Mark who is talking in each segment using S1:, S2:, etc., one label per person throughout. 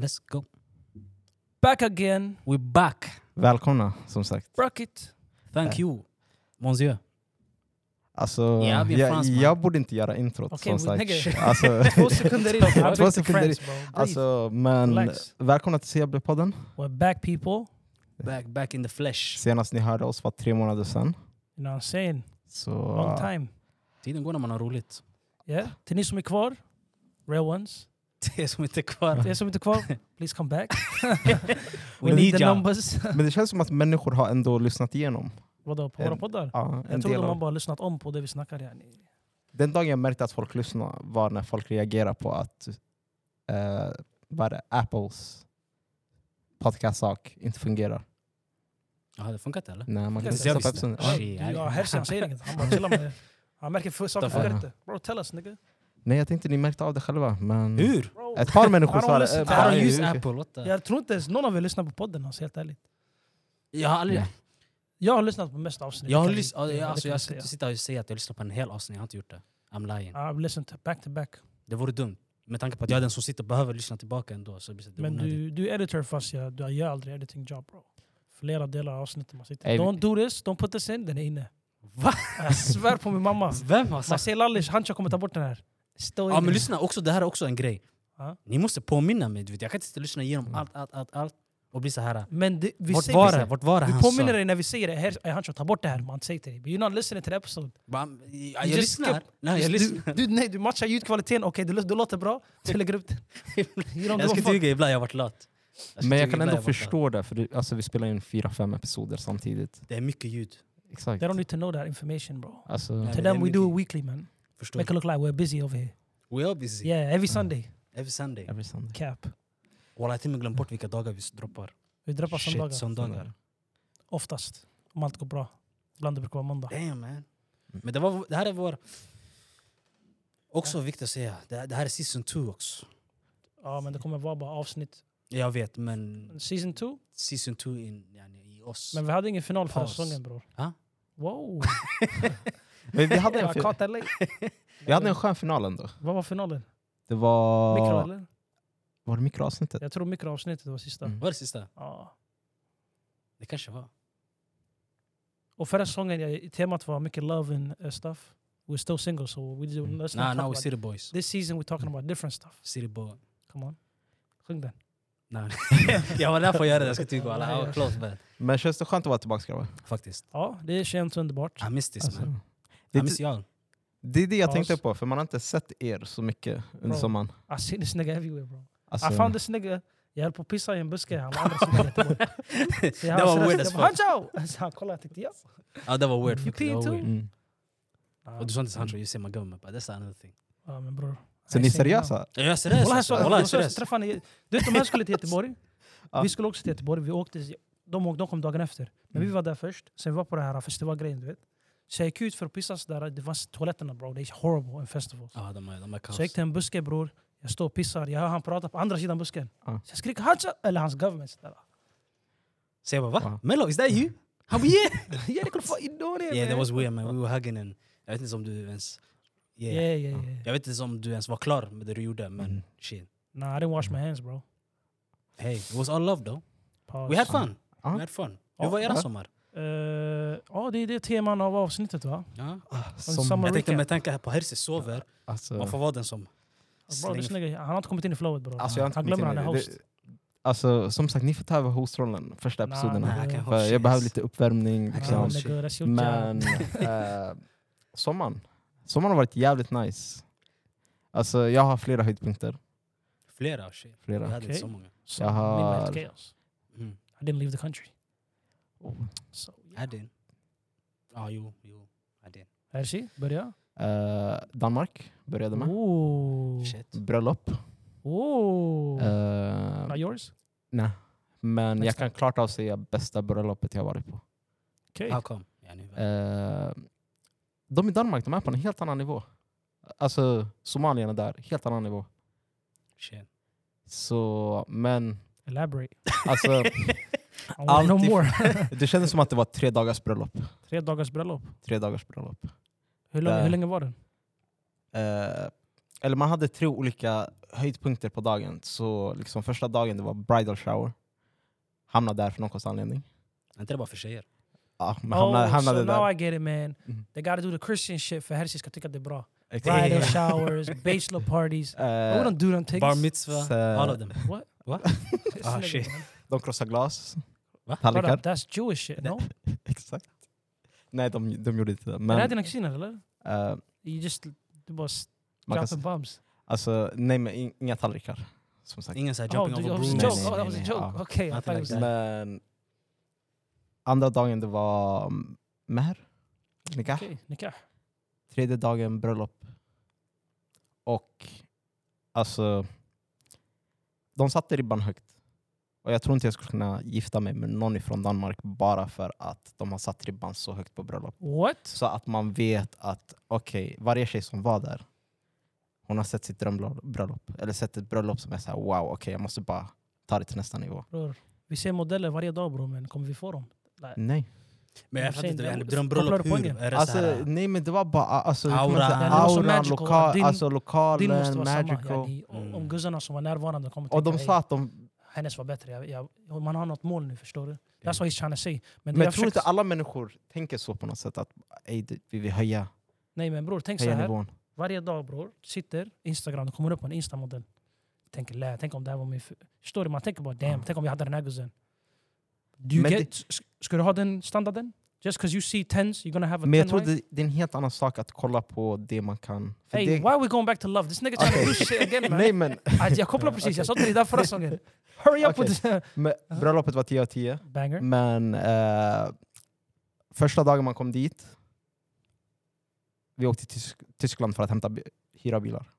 S1: Let's go. Back again.
S2: We're back.
S3: Välkomna som sagt.
S1: Rock it.
S2: Thank
S3: Ja.
S2: you, monsieur.
S3: Alltså,
S2: Ja, vi är
S3: jag,
S2: fransmän.
S3: jag borde inte göra introt
S1: Okej,
S3: som
S1: men
S3: sagt.
S1: nigga.
S3: Alltså,
S1: Två sekunder in.
S3: Två
S1: I'll take the
S3: sekunder
S1: French, bro. Breathe.
S3: alltså, men
S1: Relax.
S3: välkomna till CB-podden.
S1: We're back people.
S2: Back, back in the flesh.
S3: Senast ni hörde oss var tre månader sedan.
S1: You know what I'm saying?
S3: Så,
S1: Long time.
S2: Tiden går när man har roligt.
S1: Yeah. Till ni som är kvar, real ones.
S2: Det är som inte är kvar.
S1: Till er som inte är kvar, please come back.
S2: We need
S1: the
S2: ya.
S1: numbers.
S3: Men det känns som att människor har ändå lyssnat igenom.
S1: Vadå, på
S3: En-
S1: våra poddar?
S3: Ja, en
S1: Jag trodde
S3: del
S1: man
S3: av.
S1: bara lyssnat om på det vi snackar. Yani.
S3: Den dagen jag märkte att folk lyssnade var när folk reagerade på att eh, vad är det, Apples podcast-sak inte fungerar.
S2: Jaha, det funkar inte eller?
S3: Nej, man kan
S1: Jag
S3: inte stoppa
S2: visste.
S3: episoden. Ja.
S2: Shit.
S1: Du, Ja, Hersen han säger inget. Han bara chillar med det. Han märker för saker
S2: Utanför.
S1: funkar inte. Bro, tell us nigga.
S3: Nej, jag tänkte ni märkte av det själva. Men
S2: Hur?
S1: Bro.
S3: Ett par människor
S1: I don't
S3: sa
S2: I
S1: listen to Ja,
S3: det. Eh, bara,
S2: don't
S3: hur-
S2: use
S3: hur-
S2: Apple. What the?
S1: Jag tror inte ens någon av er lyssnar på podden alltså, helt ärligt.
S2: Jag har aldrig...
S1: Jag har lyssnat på mest avsnitt.
S2: Jag har
S1: Det kan-
S2: lyssnat...
S1: det kan
S2: Alltså,
S1: jag
S2: jag ska
S1: säga.
S2: inte sitta och säga att jag lyssnar på en hel avsnitt. Jag har inte gjort det. I'm lying.
S1: I've listened to back to back.
S2: Det vore dumt. Med tanke på att jag är den som sitter och behöver lyssna tillbaka ändå. Så blir det
S1: Men
S2: onödigt.
S1: du, du är editor fast jag, du gör aldrig editing job bro. Flera delar av avsnittet man sitter.
S3: Ey, vi-
S1: don't do this, don't put this in, den är inne.
S2: Va?
S1: Jag svär på min mamma.
S2: Vem har sagt
S1: Marcel Lallish, han kommer ta bort den här. Stå
S2: Ja
S1: in
S2: men
S1: den.
S2: lyssna, också, det här är också en grej.
S1: Ja.
S2: Ni måste påminna mig, du vet. jag kan inte sitta och lyssna igenom allt, allt, allt, allt och bli så här.
S1: Men det, vi
S2: Vart
S1: säger-
S2: var det? Vart var det
S1: Vi
S2: han
S1: påminner
S2: sa?
S1: dig när vi säger det, här, Hancho ta bort det här, man säger till dig. But you're not listening to the episode.
S2: Va? Jag
S1: just
S2: lyssnar.
S1: skip-
S2: Nej, jag
S1: du,
S2: lyssnar.
S1: du, nej, du matchar ljudkvaliteten, okej du, låter- du låter bra, du lägger upp den. You don't
S2: Jag
S1: give
S2: ska
S1: a fuck.
S2: tyga, ibland jag har varit lat.
S1: Alltså,
S2: ska
S3: Men jag
S2: tyga,
S3: kan
S2: ibland
S3: ändå
S2: har varit lat.
S3: förstå det, för det, alltså, vi spelar in fyra, fem episoder samtidigt.
S2: Det är mycket ljud.
S3: Exakt.
S1: They don't need to know that information bro.
S3: Alltså,
S2: Nej.
S1: To
S2: det är
S1: them we do it weekly man.
S2: Förstår
S1: Make it
S2: du?
S1: look like we're busy over here.
S2: We are busy.
S1: Yeah, every Sunday.
S2: Every Sunday.
S3: every Sunday.
S1: Cap.
S2: Walla, jag har till och med glömt bort vilka dagar vi droppar.
S1: Vi droppar söndagar.
S2: Shit, söndagar.
S1: Oftast. Om allt går bra. Ibland det brukar vara måndag.
S2: Damn man. Men det, var, det här är vår... Också viktigt att säga, det, det här är season 2 också.
S1: Ja, men det kommer vara bara avsnitt.
S2: Jag vet, men
S1: Season 2.
S2: season 2 in, yani, i oss.
S1: Men vi hade ingen final förra
S2: Paus.
S1: säsongen bror.
S2: Ja.
S1: Wow!
S3: Men vi, hade en,
S1: Jag
S3: fi-
S1: caught that late.
S3: vi hade en skön final ändå.
S1: Vad var finalen?
S3: Det var...
S1: Mikro eller?
S3: Var det mikroavsnittet?
S1: Jag tror mikroavsnittet var sista.
S3: Mm.
S2: Var det sista?
S1: Ja.
S2: Det kanske var.
S1: Och förra säsongen, jag- temat var mycket love and uh, stuff. We're still single so we do, let's
S2: Nah,
S1: not talk
S2: now we're
S1: about
S2: city boys.
S1: This season we're talking about different stuff.
S2: City boy.
S1: Come on. Sjung den.
S2: Nej. jag var där för att göra det, jag ska tycka alla. Jag var close bad.
S3: Men känns det skönt att vara tillbaka grabbar?
S2: Faktiskt.
S1: Ja, det känns underbart.
S2: I miss this man.
S3: Alltså,
S2: I
S3: det,
S2: miss y'all.
S3: det är det jag
S1: Ja,
S3: tänkte
S1: alltså.
S3: på, för man har inte sett er så mycket under
S1: Bro. Ah,
S3: sommaren.
S1: I seen this nigga everywhere bro.
S3: Alltså,
S1: I found this nigga. Jag höll på att pissa i en buske. Han var andra sidan Göteborg. Så jag-
S2: Det var
S1: så jag-
S2: weird as
S1: jag bara, "Hancho!" Så Han kollade jag tänkte ja.
S2: Ja "Ah, det var weird. faktiskt.
S1: pee
S2: Det var
S1: too?
S2: weird.
S3: mm.
S2: Och du sa inte till Sancho, you say my government, but that's another thing.
S1: Ja men bror.
S3: Så ni är seriösa?
S2: Ja, Jag är seriös.
S1: Walla jag
S2: alltså.
S1: sa
S2: Walla, jag är
S1: jag sa- jag
S2: seriös.
S1: träffade henne. Du vet de här skulle till Göteborg.
S3: Ja.
S1: Vi skulle också till Göteborg. Vi åkte, de, åkte, de kom dagen efter. Men
S3: Mm.
S1: vi var där först. Sen vi var på det här festivalgrejen du vet. Så jag gick ut för att pissa så där. Det var toaletterna bro. Det är horrible en festival.
S2: Ja de är de är Ah, kaos.
S1: Så jag gick till en buske bror. Jag står och pissar. Jag hör han prata på andra sidan busken.
S3: Ja.
S1: Så jag skriker Hancho! Eller hans government. så där.
S2: Så jag bara va?
S3: Wow.
S2: Mello, is that you? Han bara yeah!
S1: Ja det kunde få in då
S2: Yeah that was weird man, we were hugging and jag vet inte om du ens...
S1: Yeah
S2: Yeah.
S1: yeah yeah.
S2: Jag vet inte om du ens var klar med det du gjorde men
S3: Mm.
S2: shit.
S1: Nah I didn't wash my hands bro.
S2: Hey, it was all love though.
S1: Pause.
S2: We had fun.
S3: Ja.
S2: We had fun.
S1: Ja.
S2: Hur var era
S3: Ja.
S2: sommar?
S1: Eh, oh, Ja, det är det teman av avsnittet va?
S2: Ja.
S3: Som,
S1: Summer-
S2: Ah. Jag tänkte
S1: Recap.
S2: med tanke på Herse sover, man
S3: alltså,
S2: får vara den som
S1: Bro, dus det är
S2: slänger
S1: snygga, han har inte kommit in i flowet bror.
S3: alltså, jag har inte
S1: han
S3: kommit
S1: glömmer
S3: in
S1: han
S3: i
S1: är
S3: det.
S1: host.
S3: Det- Alltså, som sagt, ni får ta över hostrollen första
S1: Nej,
S3: episoderna.
S1: nej.
S2: Nej, kan
S3: För jag
S2: shit.
S3: behöver lite uppvärmning.
S2: Jag
S3: Liksom.
S1: Ah,
S2: kan-
S1: nigga, that's your
S3: Men
S1: job.
S3: eh, sommaren. sommaren har varit jävligt nice. Alltså, jag har flera höjdpunkter.
S2: Flera shit. Vi
S3: Flera.
S2: hade inte
S1: Okej.
S2: så många.
S1: So,
S3: jag har-
S1: meanwhile, it's chaos.
S2: Mm.
S1: I didn't leave the country. So,
S2: I didn't. Ja, jo, jo. I didn't.
S1: Hershi, börja.
S3: Eh, Danmark började med.
S1: Ooh.
S2: Shit.
S3: Bröllop.
S1: Ooh.
S3: Eh,
S1: Not yours?
S3: nej. Men jag
S1: Nästa.
S3: kan klart avsäga bästa bröllopet jag varit på.
S1: Okej.
S2: How come? Yani, va?
S3: Eh, de i Danmark de är på en helt annan nivå. Alltså somalierna där, helt annan nivå.
S2: Shit.
S3: Så, men
S1: Elaborate.
S3: alltså,
S1: I want no
S3: Allt if-
S1: more.
S3: det kändes som att det var tre dagars bröllop.
S1: Tre dagars bröllop.
S2: Eh,
S3: Tre dagars bröllop.
S1: Hur lång-
S3: Där.
S1: hur länge var den?
S3: Eh, eller man hade tre olika höjdpunkter på dagen. Så liksom första dagen det var bridal shower. Hamnade där för någon konstig anledning.
S2: Inte det bara för tjejer?
S3: Ja, men hamnade,
S1: oh,
S3: hamnade
S1: so now
S3: där.
S1: I get it man.
S2: Mhm.
S3: Mm.
S1: They gotta do the Christian shit för Hershey ska tycka att det är bra.
S3: Exakt.
S1: Bridal showers, bachelor parties.
S3: Eh,
S1: I wouldn't do them things.
S2: Bar mitzvah,
S3: Så-
S2: all of them.
S1: What?
S2: What?
S1: It's
S2: Ah,
S1: like,
S2: shit.
S1: man.
S3: de krossade glas.
S2: Va?
S1: Brother,
S3: Tallrikar.
S1: That's Jewish shit, no?
S3: Exakt. Nej, de, de gjorde inte det.
S1: Men, är det här
S3: Men,
S1: dina kusiner eller?
S3: eh,
S1: You just, du bara
S3: man kan,
S1: dropping bombs.
S3: alltså, nej, men in- inga tallrikar. Som sagt.
S2: Ingen såhär
S1: Oh,
S2: jumping
S1: dude,
S2: over
S1: that was a
S2: brooms.
S1: joke.
S3: Nej,
S1: Oh, that
S3: nej,
S1: was a
S3: nej,
S1: joke.
S3: ja.
S1: Okay, I
S2: Nothing like
S1: thought it was
S2: that.
S3: Men andra dagen det var mm, mehr, nikah.
S1: okay. Nikah.
S3: Tredje dagen bröllop. Och alltså, de satte ribban högt. Och jag tror inte jag skulle kunna gifta mig med någon ifrån Danmark bara för att de har satt ribban så högt på bröllop.
S1: What?
S3: Så att man vet att okej, varje tjej som var där, hon har sett sitt drömbröllop. Eller sett ett bröllop som är så här: wow, okej jag måste bara ta det till nästa nivå.
S1: Bror, vi ser modeller varje dag bror, men kommer vi få dem?
S3: Nej.
S2: Men jag
S1: Jag
S2: fattar inte,
S1: säger,
S2: yani,
S1: det- kopplar
S2: drömbröllop
S1: du
S2: hur?
S1: poängen?
S2: Är det
S3: Alltså,
S2: såhär...
S3: nej men det var bara alltså, hur kan man
S2: Aura.
S3: säga,
S1: Den är så
S3: aura
S1: magical.
S3: lokal,
S1: Din-
S3: alltså,
S1: Din
S3: lokalen,
S1: måste vara
S3: magical.
S1: samma. Yani, om- Om
S2: Mm.
S1: guzzarna som var närvarande kommer
S3: Och de
S1: tänka,
S3: sa
S1: "Ey,
S3: att de...
S1: hennes var bättre. Jag, jag, man har något mål nu förstår du. That's what he's trying to say. Men,
S3: Men
S1: det
S3: jag tror
S1: försöker-
S3: inte alla människor tänker så på något sätt, att ey, det- vi vill höja,
S1: Nej men bror, tänk så
S3: höja
S1: här.
S3: nivån.
S1: Varje dag bror, sitter Instagram, det kommer upp en Insta-modell. Tänker lä, tänk om det här var min... fru." Förstår du? Man tänker bara damn,
S3: Ja.
S1: tänk om jag hade den här guzzen. Do you
S3: Men
S1: get, s- ska du ha den standarden? Just because you see tens, you're gonna have a
S3: Men jag
S1: ten
S3: tror
S1: wife?
S3: det, det är en helt annan sak att kolla på det man kan. För
S1: Hey,
S3: det,
S1: why are we going back to love? This nigga trying to do
S3: Okej.
S1: shit again man.
S3: nej men,
S1: Aj, jag kopplar precis, jag sa till dig där förra säsongen. Hurry up
S3: Okej.
S1: with this
S3: men bröllopet var 10 av 10.
S1: banger.
S3: Men eh, första dagen man kom dit, vi åkte till Tysk- Tyskland för att hämta, bi- hyra bilar.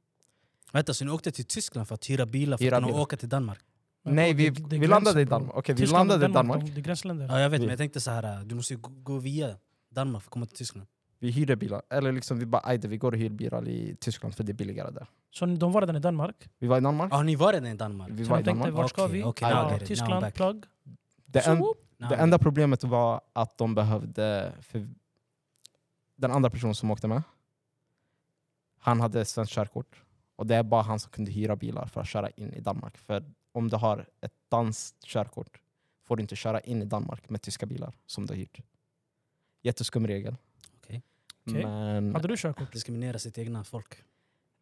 S2: Vänta, så ni åkte till Tyskland för att hyra bilar för
S3: Hyra
S2: att kunna
S3: bilar.
S2: åka till Danmark?
S1: Men
S3: nej,
S1: bror,
S3: vi,
S1: det- det är
S3: vi landade i
S1: gränsen, bror.
S3: Danmark. Okej, vi
S1: Tyskland och
S3: landade i Danmark.
S1: de- Det är gränsländer.
S2: Ja, jag vet,
S3: Vi-
S2: men jag tänkte så här, du måste ju gå- gå via Danmark för att komma till Tyskland.
S3: Vi hyrde bilar. Eller liksom vi bara, "Aj då, vi går och hyr bilar i Tyskland för det är billigare där.
S1: Så ni- de var redan i Danmark.
S3: Vi var i Danmark.
S2: Har ni varit i Danmark?
S3: Vi
S1: Så
S3: var i
S1: de tänkte,
S3: Danmark.
S1: vart ska
S2: Okej,
S1: vi?
S2: okej,
S3: now I
S1: Ja,
S2: get it, now I'm
S1: Tyskland,
S2: back.
S1: plug.
S3: Det, en,
S1: Så,
S2: Nej,
S3: det enda problemet var att de behövde... För den andra personen som åkte med, han hade svenskt körkort. Och det är bara han som kunde hyra bilar för att köra in i Danmark. För om du har ett danskt körkort får du inte köra in i Danmark med tyska bilar som du har hyrt. Jätteskum regel.
S2: Okej.
S1: Okej.
S3: Men,
S1: Hade du körkort?
S2: Diskriminera sitt egna folk.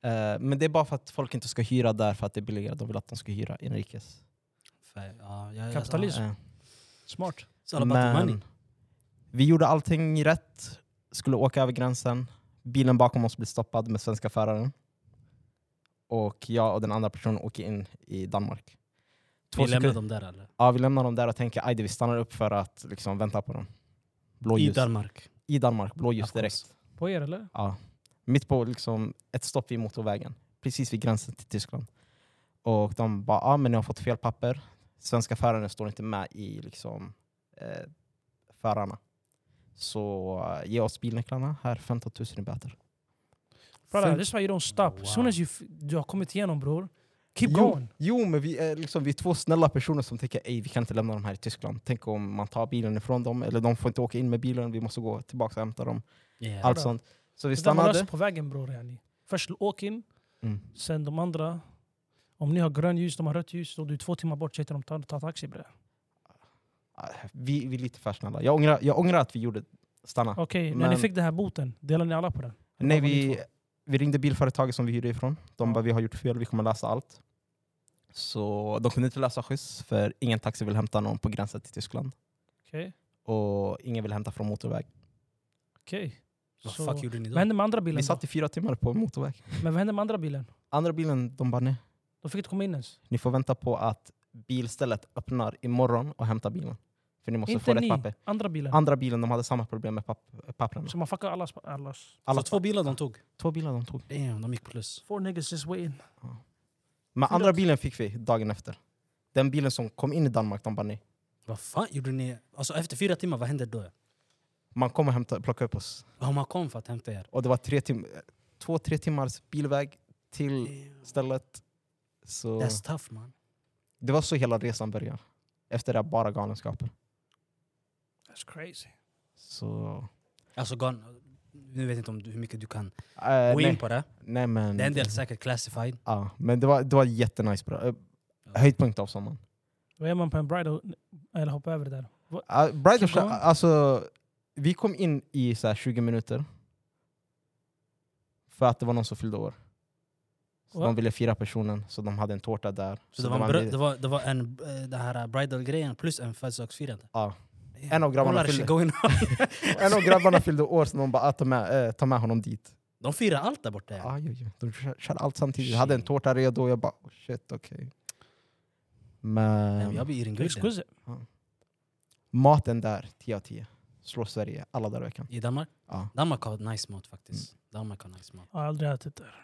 S3: eh, men det är bara för att folk inte ska hyra där för att det är billigare. De vill att de ska hyra inrikes.
S2: För, ja, jag- jag-
S1: Kapitalism.
S3: Eh.
S1: Smart.
S2: It's all about the money.
S3: vi gjorde allting rätt, skulle åka över gränsen. Bilen bakom oss blev stoppad med svenska föraren. Och jag och den andra personen åker in i Danmark.
S2: Vi lämnar
S3: sekunder-
S2: dem där eller?
S3: Ja, vi lämnar dem där och tänker att vi stannar upp för att liksom, vänta på dem.
S2: I
S3: Blåljus.
S2: Danmark.
S3: I Danmark, blåljus
S2: Of course.
S3: direkt.
S1: På er eller?
S3: Ja. Mitt på liksom, ett stopp vid motorvägen, precis vid gränsen till Tyskland. Och de bara, ja ah, men ni har fått fel papper. Svenska föraren står inte med i liksom, eh, förarna. Så eh, ge oss bilnycklarna, här 15 000 i böter.
S1: Brother,
S3: Sen-
S1: this is why you don't stop. As soon
S2: Wow.
S1: as you, f- du har kommit igenom bror, keep
S3: Jo.
S1: going.
S3: Jo, men vi är, liksom, vi är två snälla personer som tänker, ej vi kan inte lämna dem här i Tyskland. Tänk om man tar bilen ifrån dem, eller de får inte åka in med bilen, vi måste gå tillbaka och hämta dem.
S2: Yeah.
S3: Allt
S1: då.
S3: sånt. Så vi
S1: Det där man löser
S3: stannade.
S1: på vägen bror. Yani. Först åk in,
S3: Mm.
S1: sen de andra. Om ni har grön ljus, de har rött ljus, då du är två timmar bort. Säg till dem ta, ta taxi bre.
S3: Ah, Vi, vi är lite för snälla. Jag ångrar, jag ångrar att vi gjorde stanna.
S1: Okej, när
S3: Men-
S1: ni fick den här boten, delade ni alla på den?
S3: Nej,
S1: var ni
S3: vi,
S1: två?
S3: vi ringde bilföretaget som vi hyrde ifrån. De
S1: Ja.
S3: bara, vi har gjort fel, vi kommer lösa allt. Så de kunde inte lösa skjuts, för ingen taxi vill hämta någon på gränsen till Tyskland.
S1: Okej.
S3: Och ingen vill hämta från motorväg.
S1: Okej.
S2: Vad
S1: Så-
S2: fuck gjorde ni
S1: Vad
S2: då?
S1: hände med andra
S3: Vi
S1: bilen? då?
S3: satt i fyra timmar på motorväg.
S1: Men vad hände med andra bilen?
S3: Andra bilen, de bara, nej.
S1: De fick inte komma in ens.
S3: Ni får vänta på att bilstället öppnar imorgon och hämtar bilen. För ni måste få
S1: inte
S3: rätt
S1: ni,
S3: papper.
S1: andra bilen.
S3: Andra bilen, de hade samma problem med papp- papperna.
S1: Så man fuckar allas... allas.
S3: Alla
S2: Så två bilar de tog?
S3: två bilar de tog.
S2: Damn, de gick plus.
S1: Four niggas just waiting.
S3: Men
S1: Fyra-
S3: andra bilen fick vi dagen efter. Den bilen som kom in i Danmark, de bara, nej.
S2: Vad fan gjorde ni? Alltså efter fyra timmar, vad hände då?
S3: Man kommer hämta, plocka upp oss.
S2: Ja, man kom för att hämta er.
S3: Och det var tre tim två, tre timmars bilväg till stället. Så
S2: That's tough man.
S3: det var så hela resan började. Efter det här bara galenskaper.
S1: That's crazy.
S3: Så
S2: Alltså gan- Nu vet jag inte om du, hur mycket du kan
S3: Eh,
S2: gå in
S3: nej,
S2: på det.
S3: nej, men...
S2: Det är en del säkert classified.
S3: Ja, men det var, det var jättenice bra. Eh,
S2: Ja.
S3: Höjdpunkt av sommaren.
S1: Vad gör man på en bridal? Eller hoppa över det där.
S3: Uh, Bride of
S1: Keep going.
S3: Sha- alltså, vi kom in i så här 20 minuter. För att det var någon som fyllde år. Så
S1: Va?
S3: de ville fira personen, så de hade en tårta där.
S2: Så det var, en, brö- det var, det var en eh, den här bridal-grejen plus en födelsedagsfirande.
S3: Ja. En av grabbarna
S2: All that
S3: fyllde-
S2: shit going on.
S3: en av grabbarna fyllde år, så de bara ah, ta, med, eh, ta med honom dit.
S2: De firar allt där borta. ja.
S3: Aj, aj, aj. De kör- körde allt samtidigt. Jag hade en
S2: Shit.
S3: tårta redo, jag bara oh, shit okej.
S2: Nej, men
S3: Men
S2: Jag blir eating good. then.
S1: Exquisite.
S3: maten där, 10 av 10. Slår Sverige alla dagar i veckan.
S2: I Danmark?
S3: Ja. Mm.
S2: Danmark har nice mat faktiskt. Danmark har nice mat.
S1: Jag har aldrig ätit där.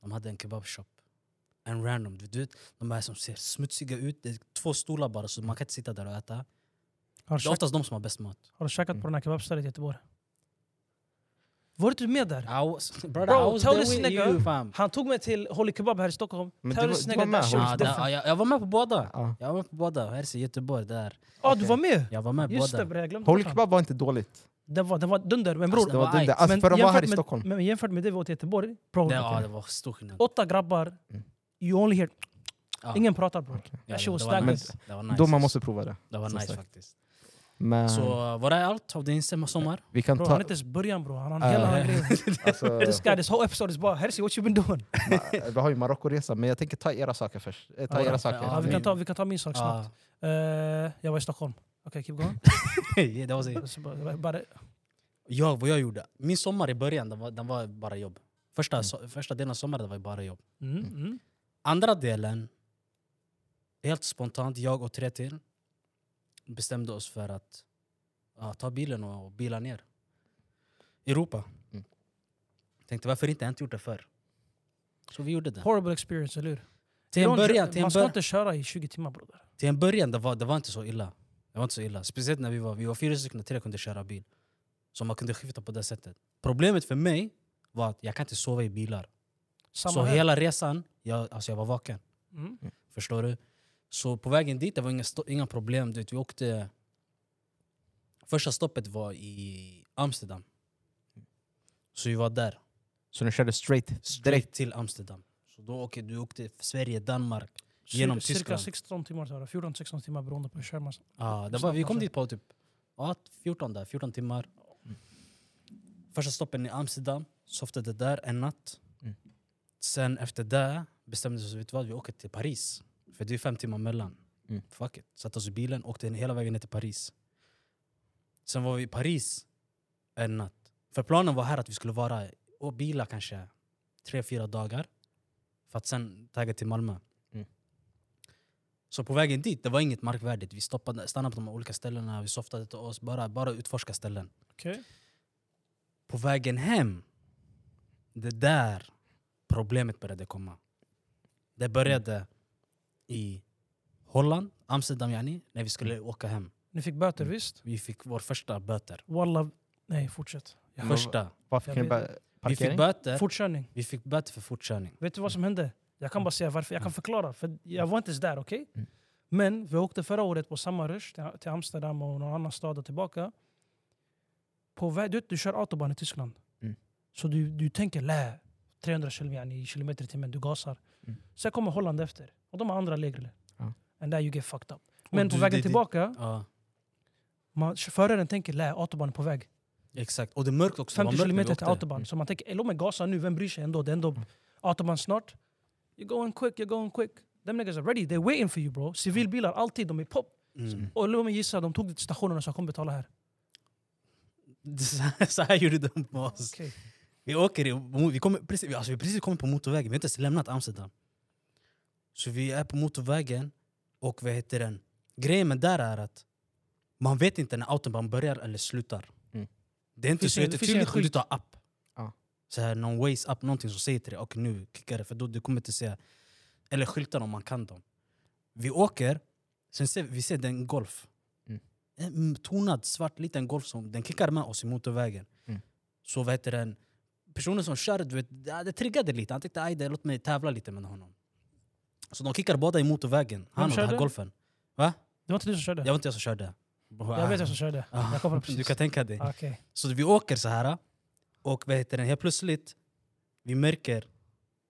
S2: De hade en kebabshop. En random. Du du vet, de här som ser smutsiga ut. Det är två stolar bara, så man kan inte sitta där och äta.
S1: Har du
S2: Det är oftast de som har bäst mat.
S1: Har du käkat
S3: Mm.
S1: på den här kebabstället i Göteborg? Var du med där?
S2: I was, brother,
S1: Bro,
S2: I was
S1: tell
S2: there
S1: us,
S2: with
S1: nigga.
S2: you fam.
S1: Han tog mig till Holy Kebab här i Stockholm.
S3: Men du
S1: Terrorist
S3: var-
S1: nigga,
S3: du var med,
S1: that shit was
S3: Holy
S2: Ja, Ah, där, ja,
S1: different.
S2: jag, jag var med på båda.
S3: Ja.
S2: Jag var med på båda. Här i Göteborg, där.
S1: Ja, du var med?
S2: Jag var med på
S1: Just det
S2: båda.
S1: bre, jag glömde
S3: Holy
S1: bort han.
S3: kebab var inte dåligt.
S1: Den var, den var dunder, men
S2: Alltså,
S1: bror.
S2: det
S3: Det var
S2: var
S3: dunder.
S2: aje.
S3: Alltså, för de var här i
S1: jämfört
S3: Stockholm.
S1: Med, men jämfört med det vi åt i Göteborg, bro.
S2: Det, ja, det var stor skillnad. Ah,
S1: Åtta grabbar,
S3: Mm.
S1: you only hear...
S2: Ja.
S1: Ingen pratar bror.
S3: Okej.
S2: Ja,
S1: That
S2: det,
S1: shit was
S2: det, var
S1: stagnant.
S2: nice. det var nice.
S3: Då man måste prova det.
S2: Det var
S3: som
S2: nice
S3: sagt.
S2: faktiskt.
S3: Men
S2: Så var det allt av din sem- sommar?
S3: vi kan
S1: Bro, han är
S3: ta...
S1: inte ens början bror. Han har
S3: Ja.
S1: en hel annan grej.
S3: Alltså,
S1: This guy, this whole episode is bara Hersi, what you been doing?
S3: Ma- vi har ju Marockoresa, men jag tänker ta era saker först. Eh, Ta
S1: Ja,
S3: era
S1: ja,
S3: saker.
S1: Ja, vi,
S2: men-
S1: kan ta, vi kan ta min sak snabbt.
S2: Ja.
S1: Eh, jag var i Stockholm. Okej, keep going.
S2: Ja, det var så.
S1: Så bara- bara-
S2: jag, vad jag gjorde. Min sommar i början den var, den var bara jobb. Första, so, första delen av sommaren den var bara jobb.
S1: Mm, mm.
S2: Andra delen, helt spontant, jag och tre till bestämde oss för att ja, ta bilen och, och bila ner. Europa.
S3: Mm.
S2: Tänkte varför inte? Jag har inte gjort det förr. Så vi gjorde det.
S1: Horrible experience, eller hur?
S2: Till en
S1: Don't-
S2: början, till en
S1: Man ska
S2: bör-
S1: inte köra i 20 timmar broder.
S2: Till en början det var det var inte så illa. Det var inte så illa. Speciellt när vi var, vi var fyra stycken, tre kunde köra bil. Så man kunde skifta på det sättet. Problemet för mig var att jag kan inte sova i bilar.
S1: Samma
S2: så
S1: här.
S2: hela resan, jag, alltså jag var vaken.
S1: Mm.
S2: Förstår du? Så på vägen dit det var inga, sto- inga problem. Du vet, vi åkte... Första stoppet var i Amsterdam. Så vi var där.
S3: Så ni körde straight?
S2: Direkt till Amsterdam. Så då åkte, du åkte Sverige, Danmark.
S1: Cir-
S2: Genom
S1: Cirka
S2: Tyskland.
S1: 16 timmar tar det. 14-16 timmar beroende på hur kör man.
S2: Ja, det
S1: Snabbt
S2: var, vi kom
S1: kanske.
S2: dit på typ ja, 14, där, 14 timmar. Första stoppen i Amsterdam, softade där en natt.
S3: Mm.
S2: Sen efter det bestämde vi oss, vet du vad, vi åker till Paris. För det är fem timmar mellan.
S3: Mm.
S2: Fuck it. Satte oss i bilen, åkte hela vägen ner till Paris. Sen var vi i Paris en natt. För planen var här att vi skulle vara och bila kanske tre, fyra dagar. För att sen tagga till Malmö.
S3: Mm.
S2: Så på vägen dit, det var inget markvärdigt. Vi stoppade, stannade på de här olika ställena, vi softade till oss, bara, bara utforska ställen. Mm.
S1: Okej.
S2: På vägen hem, det där problemet började komma. Det började i Holland, Amsterdam yani, när vi skulle åka hem.
S1: Ni fick böter
S2: Mm.
S1: visst?
S2: Vi fick vår första böter.
S1: Walla... Nej, fortsätt. Jag hör.
S2: Första.
S3: Varför
S1: Jag
S3: kan ni
S1: vet
S3: bara...
S2: Vi fick
S3: Parkering?
S2: böter,
S1: Fortkörning.
S2: vi fick böter för fortkörning.
S1: Vet du vad som hände? Jag kan bara säga varför. Jag kan förklara. För jag var inte ens där, okej?
S3: Mm.
S1: Men vi åkte förra året på samma rush till- till Amsterdam och någon annan stad och tillbaka. På väg, du, vet, du kör autobahn i Tyskland.
S3: Mm.
S1: Så du, du tänker lä, 300 km, yani, kilometer i timmen, du gasar.
S3: Mm.
S1: Sen kommer Holland efter. Och de har andra regler.
S3: Ja.
S1: And there you get fucked up.
S2: Och
S1: Men
S2: du-
S1: på vägen
S2: det- det-
S1: tillbaka,
S2: Ja,
S1: man, föraren tänker lä, autobahn är på väg.
S2: exakt. Och det är mörkt också. Det var
S1: 50
S2: mörkt när vi
S1: kilometer till
S2: åkte.
S1: autobahn. Så man tänker, "Eh, låt mig gasa nu, vem bryr sig ändå? Det är ändå
S2: Mm.
S1: autobahn snart. You're going quick, you're going quick. Them niggas are ready, they're waiting for you bro. Civilbilar alltid, de är pop.
S2: Mm.
S1: Och låt mig gissa, de tog det till stationen och sa kom betala här.
S2: Så här- Mm. Så här gjorde de med oss.
S1: Okej.
S2: Vi åker, i- vi kommer precis, vi- alltså vi har precis kommit på motorvägen, vi har inte ens lämnat Amsterdam. Så vi är på motorvägen och vad heter den? Grejen med där är att man vet inte när autobahn börjar eller slutar.
S3: Mm.
S2: Det är inte
S1: Finns
S2: så
S1: det- finns det ingen
S2: jättetydligt om du
S1: skylt?
S2: tar app.
S3: Ja.
S2: Så här, någon Waze app, någonting som säger till dig och nu klickar det för då du kommer inte se, eller skyltar om man kan dem. Vi åker, sen ser vi- vi ser den golf.
S3: Mm.
S2: En tonad svart liten golf som den kickar med oss i motorvägen.
S3: Mm.
S2: Så vad heter den, personen som kör, du vet, ja, det triggade lite. Han tyckte "Aj, det låt mig tävla lite med honom. Så de kickar båda i motorvägen, han och den här
S1: körde?
S2: golfen. Va?
S1: Det var inte du som körde?
S2: Jag var inte jag som körde.
S1: Jag vet jag som körde.
S2: Ah.
S1: Jag kopplar precis.
S2: Du kan tänka dig.
S1: Okej.
S2: Så vi åker så här. Och vad heter den? Helt plötsligt, vi märker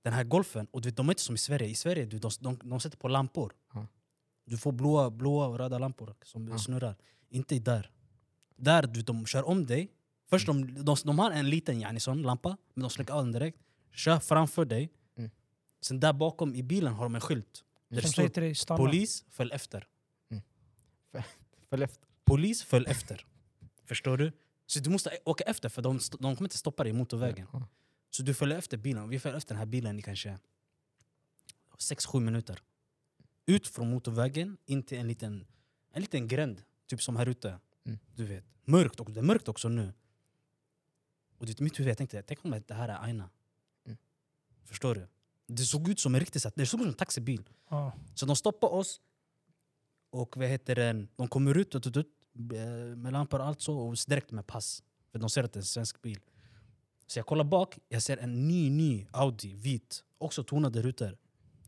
S2: den här golfen. Och du vet, de är inte som i Sverige. I Sverige du, de, de, de sätter på lampor.
S3: Ja.
S2: Du får blåa, blåa och röda lampor som
S3: Ja.
S2: snurrar. Inte där. Där du, vet, de kör om dig. Först de, de, de har en liten yani, sån lampa, men de släcker av den direkt. Kör framför dig.
S3: Mm.
S2: Sen där bakom i bilen har de en skylt. Där det
S1: Som
S2: står
S1: säger till dig, stanna.
S2: polis, följ efter.
S3: Följ efter.
S2: Polis, följ efter. Förstår du? Så du måste åka efter för de, st- de kommer inte stoppa dig i motorvägen.
S3: Ja.
S2: Så du följer efter bilen. Vi följer efter den här bilen i kanske 6-7 minuter. Ut från motorvägen in till en liten, en liten gränd. Typ som här ute.
S3: Mm.
S2: Du vet. Mörkt. Och det är mörkt också nu. Och det är mitt huvud. Jag tänkte, tänk om det här är Aina.
S3: Mm.
S2: Förstår du? Det såg ut som en riktig... så här- Det såg ut som en taxibil.
S1: Ja.
S2: Så de stoppar oss. Och vad heter den? De kommer ut och tut, tut, eh, med lampor och allt så och direkt med pass. För de ser att det är en svensk bil. Så jag kollar bak, jag ser en ny, ny Audi, vit. Också tonade rutor.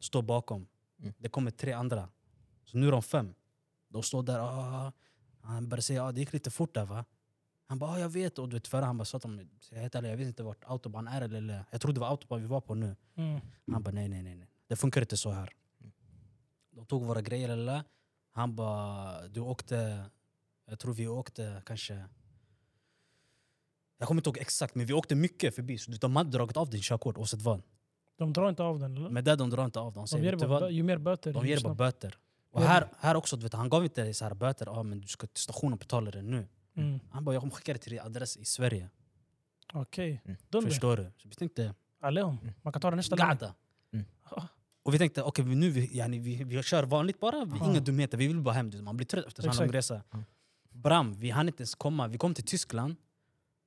S2: Står bakom.
S3: Mm.
S2: Det kommer tre andra. Så nu är de fem. De står där ah, Han börjar säga ah, det gick lite fort där va? Han bara ah, jag vet. Och du vet förra han bara sa till mig, "Så jag är helt ärlig, jag vet inte vart autobahn är eller... Jag trodde det var autobahn vi var på nu.
S1: Mm.
S2: Han bara nej, nej, nej, nej. Det funkar inte så här. De tog våra grejer eller Han bara du åkte, jag tror vi åkte kanske... Jag kommer inte ihåg exakt men vi åkte mycket förbi. Så de hade dragit av din körkort oavsett vad.
S1: De drar inte av den, eller?
S2: Men där de drar inte av dem. De
S1: de
S2: säger,
S1: ger
S2: Mm. vet du
S1: dig
S2: vad?
S1: bara, ju mer böter,
S2: De ger
S1: ju
S2: dig bara
S1: snabbare.
S2: böter. Och
S1: Ja.
S2: här, här också, du vet, han gav inte dig så här böter. Ah, men du ska till stationen och betala det nu.
S1: Mm.
S2: Han bara jag kommer skicka dig till din adress i Sverige.
S1: Okej.
S3: Mm.
S1: Dunder.
S2: Förstår du? Så vi tänkte
S1: Allihom.
S3: Mm.
S1: Man kan ta det nästa läge.
S2: قاعدة
S3: Mm.
S2: Och vi tänkte okej nu vi, yani, vi, vi kör vanligt bara, vi,
S1: Ja.
S2: inga dumheter, vi vill bara hem. du vet. Man blir trött efter en sån lång
S1: Exakt.
S2: resa.
S3: Ja.
S2: Bram, vi hann inte ens komma. Vi kom till Tyskland.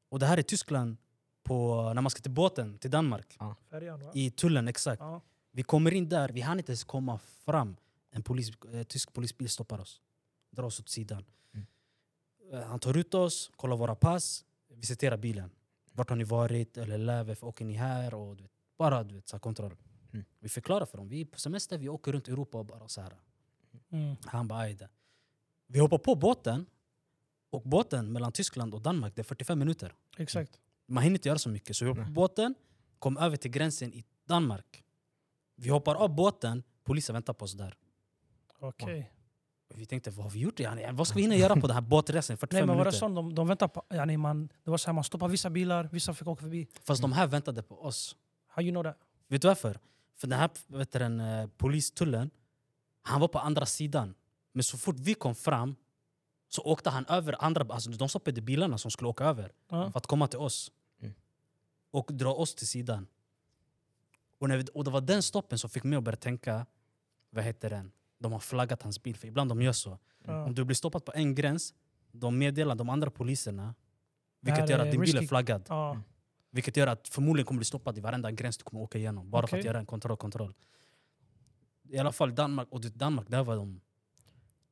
S2: Och det här är Tyskland på, när man ska till båten till Danmark.
S1: Färjan, va?
S2: I tullen exakt.
S1: Ja.
S2: Vi kommer in där, vi hann inte ens komma fram. En polis, eh, tysk polisbil stoppar oss. Drar oss åt sidan.
S3: Mm.
S2: Eh, Han tar ut oss, kollar våra pass, visiterar bilen. Vart har ni varit? Eller lä, varför åker ni här? Och, du vet, bara du vet, så här, kontroll.
S3: Mm.
S2: Vi förklarar för dem. Vi är på semester, vi åker runt Europa och bara så här.
S1: Mm.
S2: Han bara, "Aj då." Vi hoppar på båten. Och båten mellan Tyskland och Danmark, det är 45 minuter.
S1: Exakt.
S2: Man hinner inte göra så mycket. Så vi hoppar på
S3: Nej.
S2: båten, kom över till gränsen i Danmark. Vi hoppar av båten, polisen väntar på oss där. Mm.
S1: Okej.
S2: Vi tänkte, vad har vi gjort? Yani, vad ska vi hinna göra på den här båtresan i 45
S1: Nej, men var det
S2: minuter?
S1: sån? De, de väntar på... Yani man, det var så här, man stoppar vissa bilar, vissa fick åka förbi.
S2: Fast de här väntade på oss.
S1: How you know that?
S2: Vet du varför? För den här vet du, den, eh, polistullen, han var på andra sidan. Men så fort vi kom fram så åkte han över andra... Alltså de stoppade bilarna som skulle åka över
S1: Ja.
S2: för att komma till oss.
S3: Mm.
S2: Och dra oss till sidan. Och, när vi, och det var den stoppen som fick mig att börja tänka, vad heter den? De har flaggat hans bil, för ibland de gör så.
S1: Ja.
S2: Om du blir stoppad på en gräns, de meddelar de andra poliserna vilket
S1: här
S2: gör
S1: är
S2: att din bil är
S1: risky.
S2: flaggad.
S1: Ja.
S2: Vilket gör att förmodligen kommer du bli stoppad i varenda gräns du kommer åka igenom. Bara för att
S1: Okej.
S2: göra en kontroll, kontroll. I alla fall Danmark, och det- Danmark, där var de...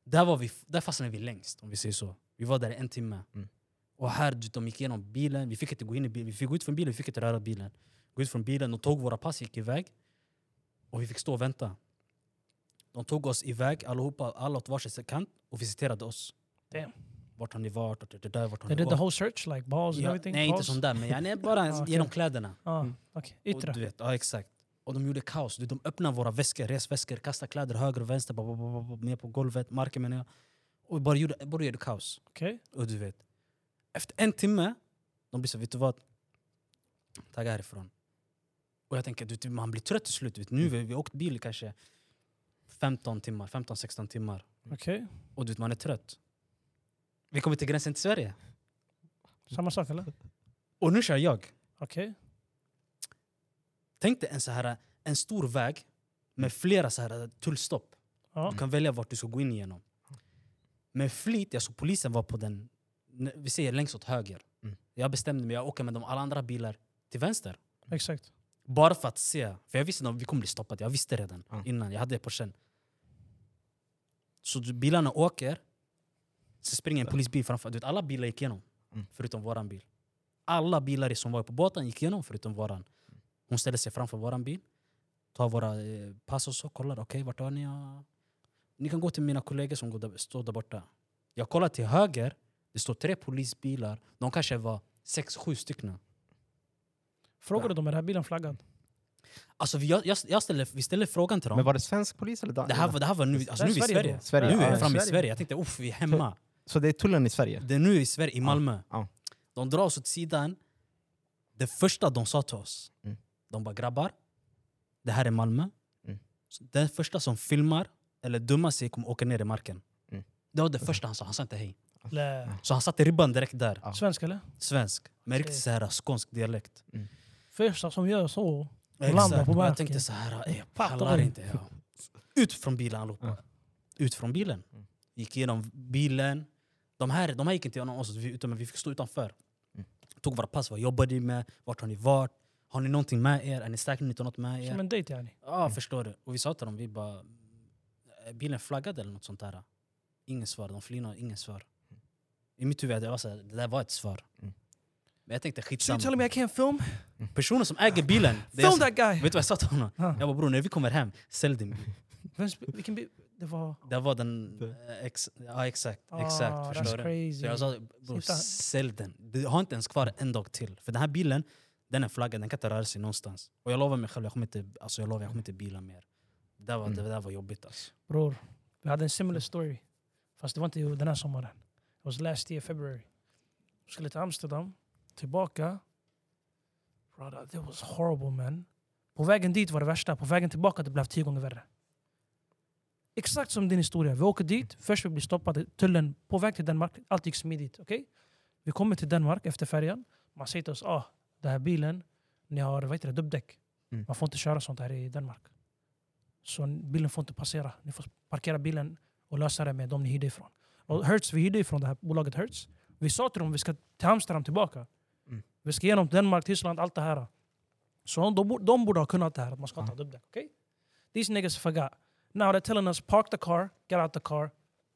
S2: Där, var vi, där fastnade vi längst, om vi säger så. Vi var där i en timme.
S3: Mm.
S2: Och här, du, de gick igenom bilen, vi fick inte gå in i bilen. Vi fick gå ut från bilen, vi fick inte röra bilen. Gå ut från bilen, de tog våra pass, gick iväg. Och vi fick stå och vänta. De tog oss iväg, allihopa, alla åt varsin kant och visiterade oss.
S1: Damn.
S2: Vart har ni varit? Vart är det där? Vart har
S1: They
S2: ni
S1: did the
S2: varit?
S1: whole search, like balls
S2: Mm.
S1: and
S2: Ja,
S1: everything?
S2: nej, inte
S1: balls?
S2: som där, men jag är bara
S1: Ah, okej.
S2: genom kläderna.
S1: Ja.
S3: Mm.
S1: Okej.
S2: Och du
S1: Yttre.
S2: vet, ja, exakt. Och de gjorde kaos. Du, De öppnade våra väskor, resväskor, kastade kläder höger och vänster, ba, ba, ba, ba, ba, ner på golvet, marken menar jag. Och bara gjorde, bara gjorde kaos.
S1: Okej.
S2: Och du vet, efter en timme, de blir så vet du vad? Tagga härifrån. Och jag tänker, du, vet, man blir trött till slut. Du vet, nu har vi åkt bil i kanske 15 timmar, 15-16 timmar.
S1: Okej.
S2: Och du vet, man är trött. Vi kommer till gränsen till Sverige.
S1: Samma sak, eller?
S2: Och nu kör jag.
S1: Okej.
S2: Mm. Tänk dig en, så här, en stor väg med flera så här tullstopp.
S1: Ja.
S2: Du kan välja vart du ska gå in igenom. Med flit, jag såg polisen var på den, n- vi säger längst åt höger.
S3: Mm.
S2: Jag bestämde mig, jag åker med de alla andra bilar till vänster.
S1: Exakt.
S2: Bara för att se, för jag visste att vi kommer bli stoppade. Jag visste redan
S3: Ja.
S2: innan, jag hade det på känn. Så du- bilarna åker, så springer en polisbil framför. Du vet, alla bilar gick igenom,
S3: Mm.
S2: förutom våran bil. Alla bilar som var på båten gick igenom förutom våran. Hon ställer sig framför våran bil, tar våra eh, pass och så, kollar. Okej, vart har ni? Ja. Ni kan gå till mina kollegor som går där, står där borta. Jag kollar till höger, det står tre polisbilar. De kanske var sex, sju stycken.
S1: Frågade de är den här bilen flaggad?
S2: Mm. Alltså vi, jag, jag ställer, vi ställer frågan till dem.
S3: Men var det svensk polis eller dansk?
S2: det, här, var- det här var nu, alltså, nu är vi i
S1: Sverige
S2: Sverige.
S1: då.
S3: Sverige.
S2: Nu är
S3: Ja,
S2: vi framme i
S1: Sverige.
S2: Sverige. Jag tänkte uff, vi är hemma.
S3: Så det är tullen i Sverige?
S2: Det är nu i Sverige, i Malmö.
S3: ja.
S2: De drar oss åt sidan. Det första de sa till oss,
S3: Mm.
S2: de bara grabbar, det här är Malmö.
S3: Mm.
S2: Så Den första som filmar eller dummar sig kommer åka ner i marken.
S3: Mm.
S2: Det var det första han sa, han sa inte hej.
S1: Eller
S2: Så han satte ribban direkt där.
S3: Ja.
S1: svensk eller?
S2: Svensk, med riktigt
S1: Okej.
S2: så här skånsk dialekt.
S1: Första som gör så. Landar
S2: Exakt.
S1: på marken.
S2: Jag tänkte så här, "Ey, jag
S1: Fattar
S2: pallar
S1: du?
S2: inte. Ja. Mm. Ut från bilen allihopa.
S3: Ja.
S2: Ut från bilen.
S3: Mm.
S2: Gick igenom bilen. De här, de här gick inte igenom oss, vi- utan vi fick stå utanför.
S3: Mm.
S2: Tog våra pass, vad jobbar ni med? Vart har ni varit? Har ni någonting med er? Är ni säkra ni inte har något med
S1: Som
S2: er?
S1: en dejt yani.
S2: Ja, förstår du. Och vi sa till dem, vi bara... "Är Bilen flaggad eller något sånt där? Ingen svar. De flinar, ingen svar. I mitt huvud, det var så här, det där var ett svar.
S3: Mm.
S2: Men jag tänkte
S1: So you
S2: skitsamma.
S1: telling me I can't film?
S2: Personen som äger bilen, det är
S1: Film that guy!
S2: Vet du vad jag sa till honom?
S1: Ja.
S2: Jag bara bror, när vi kommer hem, sälj din bil.
S1: Vems- Vilken bil? Det var...
S2: Det var den... eh, Ex, ja exakt,
S1: Ah,
S2: exakt.
S1: that's
S2: Förstår du?
S1: crazy.
S2: Så jag sa bror,
S1: Sitta.
S2: sälj den. Du har inte ens kvar en dag till. För den här bilen, den är flaggad, den kan inte röra sig någonstans. Och jag lovar mig själv, jag kommer inte, alltså, jag lovar, jag kommer inte bila mer. Det där var,
S3: Mm.
S2: det där var jobbigt alltså.
S1: Bror, vi hade en similar story. Fast det var inte den här sommaren. It was last year, February. Jag skulle till Amsterdam, tillbaka. Brother, that was horrible man. På vägen dit var det värsta, på vägen tillbaka det blev tio gånger värre. Exakt som din historia. Vi åker dit, först vi blir stoppade, tullen på väg till Danmark, allt gick smidigt. okej? Vi kommer till Danmark efter färjan, man säger till oss ah, den här bilen, ni har vad heter det, dubbdäck.
S3: Mm.
S1: Man får inte köra sånt här i Danmark. Så bilen får inte passera. Ni får parkera bilen och lösa det med de ni hyrde ifrån. Och Hertz, vi hyrde ifrån det här bolaget Hertz. Vi sa till dem vi ska till Amsterdam tillbaka.
S3: Mm.
S1: Vi ska genom Danmark, Tyskland, allt det här. Så de, borde- de borde ha kunnat det här, att man ska ta dubbdäck. Okay? These niggas forgot. Now they're telling us park the car, get out the car,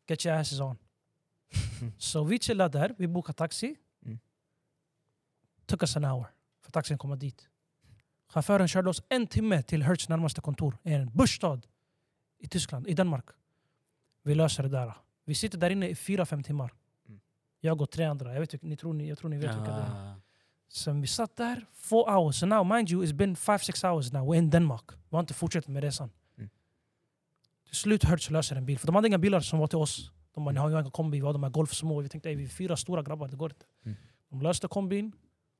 S1: get your asses on. Så vi chillade där, vi bokade taxi.
S3: Mm.
S1: Took us an hour för taxin komma dit. Chauffören körde oss en timme till Hertz närmaste kontor, en bussstad i Tyskland, i Danmark. Vi löser det där. Vi sitter där inne i fyra, fem timmar.
S3: Mm.
S1: Jag och tre andra. Jag, vet, vilka- ni tror, ni, jag tror ni vet vilka det är.
S2: Ah.
S1: Sen vi satt där, four hours. So now, mind you, it's been five, six hours now. We're in Denmark. Vi har inte fortsatt med resan.
S3: Mm.
S1: Till slut Hertz löser en bil. För de hade inga bilar som var till oss. De bara, ni har ju en kombi, vi har de här golfsmå. Vi tänkte, "Ey, vi är fyra stora grabbar, det går inte.
S3: Mm.
S1: De löste kombin.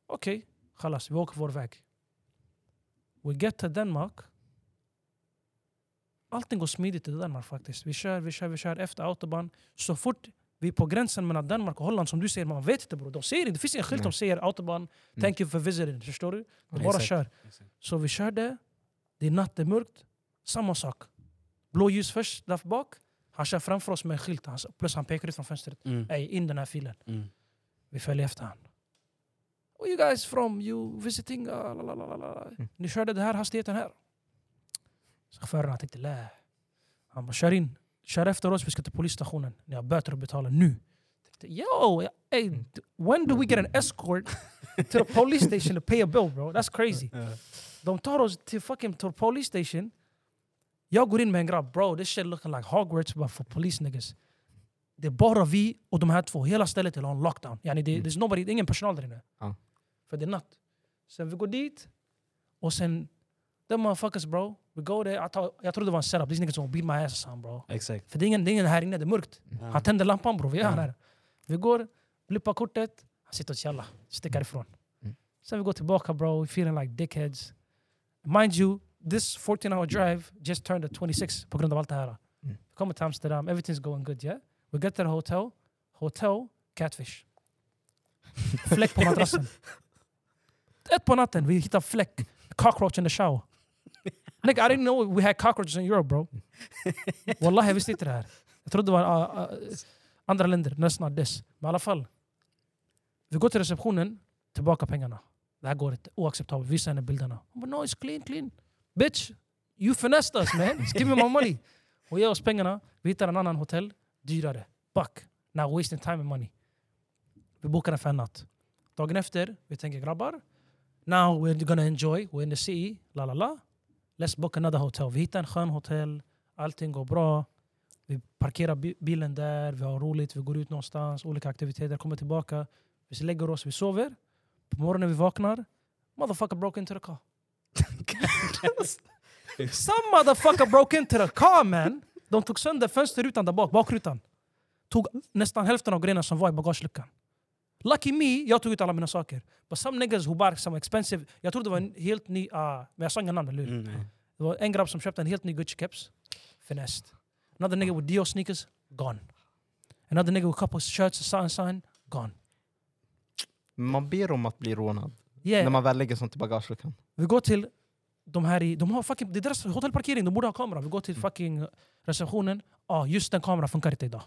S1: Okej, chalas, vi åker vår väg. We get to Denmark. Allting går smidigt i Danmark faktiskt. Vi kör, vi kör, vi kör efter autobahn. Så fort vi är på gränsen mellan Danmark och Holland, som du säger, man vet inte bror. De säger inte, det finns ingen skylt som
S3: Nej.
S1: säger autobahn.
S3: Mm.
S1: Thank you for visiting. Förstår du? Det
S2: Ja,
S1: bara
S2: exakt.
S1: kör.
S2: Exakt.
S1: Så vi körde. Det är natt, det är mörkt. Samma sak. Blå ljus först, där bak. Han kör framför oss med en skylt. Han, plus han pekar ut från fönstret.
S2: Mm.
S1: Ey, in den här filen.
S2: Mm.
S1: Vi följer efter han. Oh, you guys from, you visiting, uh, la, la, la, la, la. Ni körde den här hastigheten här. Så chauffören han tänkte, lä. Han bara, kör in. Kör efter oss, vi ska till polisstationen. Ni har böter att betala nu. Jag tänkte, Yo, ey, d- when do we get an escort to the police station to pay a bill bro? That's crazy. De tar oss till fucking till police station. Jag går in med en grabb. Bro, this shit looking like Hogwarts but for police niggas. Det är bara vi och de här två. Hela stället är on lockdown. Yani det,
S3: Mm.
S1: there's nobody, det är ingen personal där inne.
S3: Ja.
S1: För det är natt. Sen vi går dit och sen... Them motherfuckers bro. We go there. Jag, tar, jag trodde det var en setup. These niggas gonna beat my ass son bro.
S2: Exakt.
S1: För det är ingen, det är ingen här inne, det är mörkt.
S2: Ja.
S1: Han tänder lampan bror, vi är
S2: Ja.
S1: här. Vi går, blippar kortet, han sitter och tjallar, sticker ifrån.
S3: Mm.
S1: Sen vi går tillbaka bro, we feeling like dickheads. Mind you, this 14 hour drive just turned to 26 på grund av allt det här.
S3: Mm.
S1: Vi kommer till Amsterdam, everything's going good yeah. We get to the hotel, hotel, catfish. Fläck på madrassen. Ett på natten, vi hittar fläck. Cockroach in the shower. Nigga, I didn't know we had cockroaches in Europe bro. Wallahi, jag visste inte det här. Jag trodde det var ah, ah, andra länder, nästan dess. Men i alla fall. Vi går till receptionen, tillbaka pengarna. Det här går inte, oacceptabelt. Visa henne bilderna. Hon bara no it's clean, clean. Bitch, you finessed us man. Just give me my money. Hon ger oss pengarna, vi hittar en annan hotell, dyrare. Back. Now wasting time and money. Vi bokar den för en natt. Dagen efter, vi tänker grabbar. Now we're gonna enjoy, we're in the city, la la la. Let's book another hotel. Vi hittar en skön hotell, allting går bra. Vi parkerar bi- bilen där, vi har roligt, vi går ut någonstans, olika aktiviteter, kommer tillbaka. Vi lägger oss, vi sover. På morgonen vi vaknar, Motherfucker broke into the car. Some motherfucker broke into the car man. De tog sönder fönsterrutan där bak, bakrutan. Tog nästan hälften av grejerna som var i bagageluckan. Lucky me, jag tog ut alla mina saker. But some niggas who bark some expensive... Jag tror det var en helt ny... ah, men jag sa inga namn, eller hur?
S2: Mm, nej.
S1: Det var en grabb som köpte en helt ny Gucci-keps. Finessed. Another nigga with Dior sneakers, gone. Another nigga with couple shirts, a sign, sign, gone.
S3: Man ber om att bli rånad
S2: Eh.
S1: Yeah.
S3: när man väl lägger sånt i bagageluckan.
S1: Vi går till de här i... De har fucking, det är deras hotellparkering, de borde ha kamera. Vi går till fucking receptionen. Ja, ah, just den kameran funkar inte idag.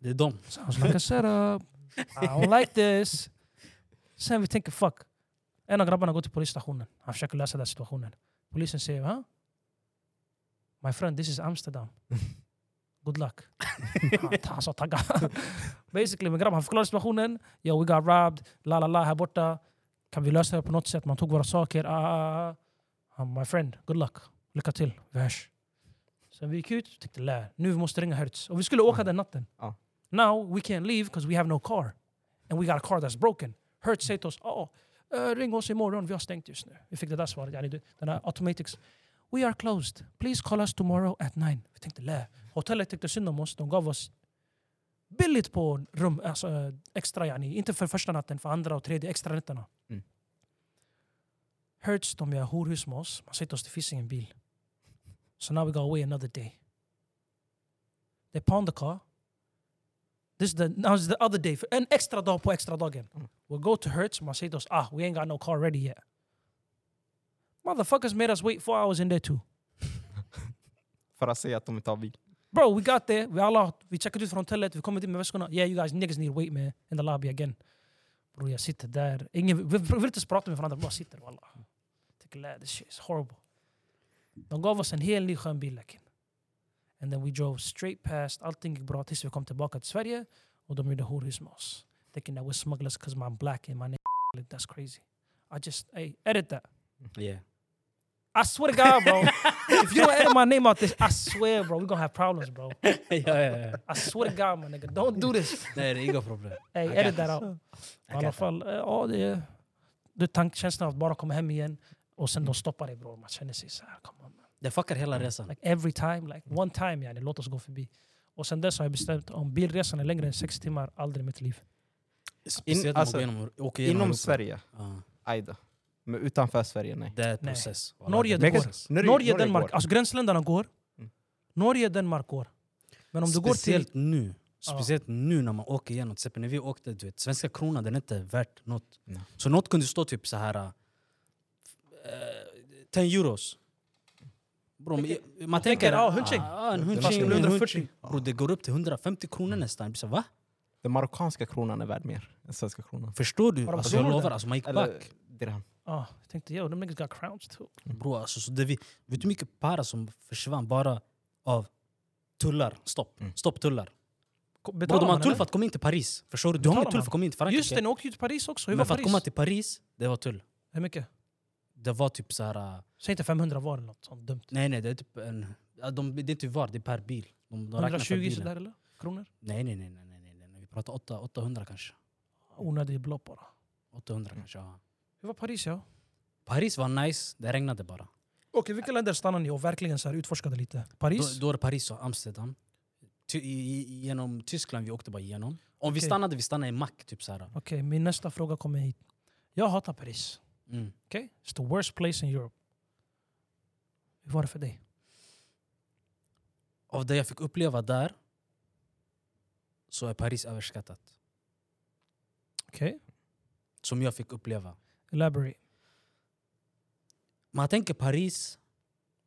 S2: Det är de.
S1: Sounds like a setup. I don't like this. Sen vi tänker fuck. En av grabbarna går till polisstationen. Han försöker lösa den här situationen. Polisen säger va? My friend, this is Amsterdam. Good luck. Han- Han sa tagga. Basically, min grabb han förklarar situationen. Yo, we got robbed. La la la här borta. Kan vi lösa det på något sätt? Man tog våra saker. Ah, ah, ah. Han, my friend, good luck. Lycka till. Vi hörs. Sen vi gick ut tänkte lä, nu måste vi ringa Hertz. Och vi skulle åka den natten. Now we can't leave because we have no car. And we got a car that's broken. Hertz säger till oss, oh, uh, ring oss imorgon, vi har stängt just nu. Vi fick det där svaret, yani, du- den här automatics. We are closed. Please call us tomorrow at nine. Vi tänkte lä. Hotellet tyckte synd om oss. De gav oss billigt på rum, alltså, eh, extra yani. Inte för första natten, för andra och tredje extra nätterna.
S3: Mm.
S1: Hertz, de gör horhus med oss. Man säger till oss, det finns ingen bil. So now we go away another day. They pawn the car. This is the now is the other day. För En extra dag på extra dagen.
S3: Mm.
S1: We'll go to Hertz. Man säger till oss, ah, we ain't got no car ready yet. Motherfuckers made us wait four hours in there too.
S3: För att säga att de inte har bil.
S1: Bro, we got there. Vi alla, vi checkade ut från hotellet. Vi kommer dit med väskorna. Yeah, you guys niggas need wait man. In the lobby again. Bro, jag sitter där. Ingen, vi, vi vill inte ens prata med varandra. Bara sitter wallah. Tycker lä, this shit is horrible. De gav oss en hel ny skön bil lakin. And then we drove straight past. Allting gick bra tills vi kom tillbaka till Sverige. Och de gjorde horhus med oss. Thinking that we're smugglers because I'm black and my name That's crazy. I just, hey, edit that.
S2: Yeah.
S1: I swear to God, bro. if you don't edit my name out this, I swear, bro, we're gonna have problems, bro.
S2: ja, ja, ja.
S1: I swear to God, my nigga, don't do this.
S2: Nej, det är inga problem.
S1: Hey,
S2: I
S1: edit
S2: got
S1: that out. I
S2: I got
S1: alla fall, eh, ja, det är, det är tankekänslan av att bara komma hem igen och sen de stoppar dig bror. Man känner sig så här, come on. man.
S2: Det fuckar hela resan.
S1: Like every time, like one time yani, låt oss gå förbi. Och sen dess har jag bestämt om bilresan är längre än sex timmar, aldrig i mitt liv.
S2: Speciellt när man
S3: alltså,
S2: går igenom, åker igenom
S3: Inom
S2: Europa.
S3: Sverige,
S2: Ja.
S3: ajda. Men utanför Sverige, nej.
S2: Det är en
S1: Nej.
S2: process. Wallah,
S1: Norge,
S2: det är
S1: det går.
S2: process.
S1: Norge, Danmark,
S3: går.
S1: alltså gränsländerna går.
S3: Mm.
S1: Norge, Danmark går. Men om du går till...
S2: Speciellt nu.
S1: Ja.
S2: Speciellt nu när man åker igenom. Till exempel när vi åkte, du vet, svenska kronan den är inte värt något.
S3: Nej.
S2: Så något kunde stå typ så här... eh, 10 euros. Bro, men- man tänker...
S1: tänker, ja, hundtjing.
S2: Ah, en
S3: Det var
S2: hundtjing,
S3: så.
S2: eller 140. Bro, det går upp till 150 kronor nästan. Jag blir så här, va?
S3: Den marockanska kronan är värd mer än svenska kronan.
S2: Förstår du?
S1: Bara
S2: Alltså, jag
S1: kronor
S2: lovar,
S1: där.
S2: alltså, man gick
S3: Eller
S2: back.
S3: dirham.
S1: Ja, jag tänkte yo, de niggas got crowns too.
S2: Bro, alltså, så det vi, vet du hur mycket para som försvann bara av tullar? Stopp.
S3: Mm.
S2: Stopp tullar. Bro,
S1: Betalar
S2: de har
S1: man,
S2: tull
S1: eller?
S2: för att komma in till Paris. Förstår du? Du har
S1: Betalar
S2: ingen tull
S1: man?
S2: för att komma in till Frankrike.
S1: Just det, ni åkte ju till Paris också. Hur var
S2: Men för att
S1: Paris?
S2: komma till Paris, det var tull.
S1: Hur mycket?
S2: Det var typ så här... äh,
S1: Säg inte 500 var eller något sånt dumt.
S2: Nej, nej, det är typ en... ja, De, det är inte var, det är per bil. De, de räknar per
S1: 120
S2: bilen.
S1: sådär eller? Kronor?
S2: Nej, nej, nej, nej, nej, nej, nej. Vi pratar 8, 800 kanske.
S1: Onödigt belopp bara.
S2: 800 kanske, ja.
S1: Hur var Paris ja?
S2: Paris var nice, det regnade bara.
S1: Okej, vilka länder stannade ni och verkligen så här utforskade lite?
S2: Då,
S1: Paris?
S2: då är det Paris och Amsterdam. Ty, i, i, genom Tyskland vi åkte bara igenom. Om vi
S1: Okej.
S2: stannade, vi stannade i Mack. Typ så här.
S1: Okej, min nästa fråga kommer hit. Jag hatar Paris.
S2: Mm.
S1: Okej? It's the worst place in Europe. Hur var det för dig?
S2: Av det jag fick uppleva där så är Paris överskattat.
S1: Okej?
S2: Som jag fick uppleva.
S1: Elaborate.
S2: Man tänker Paris,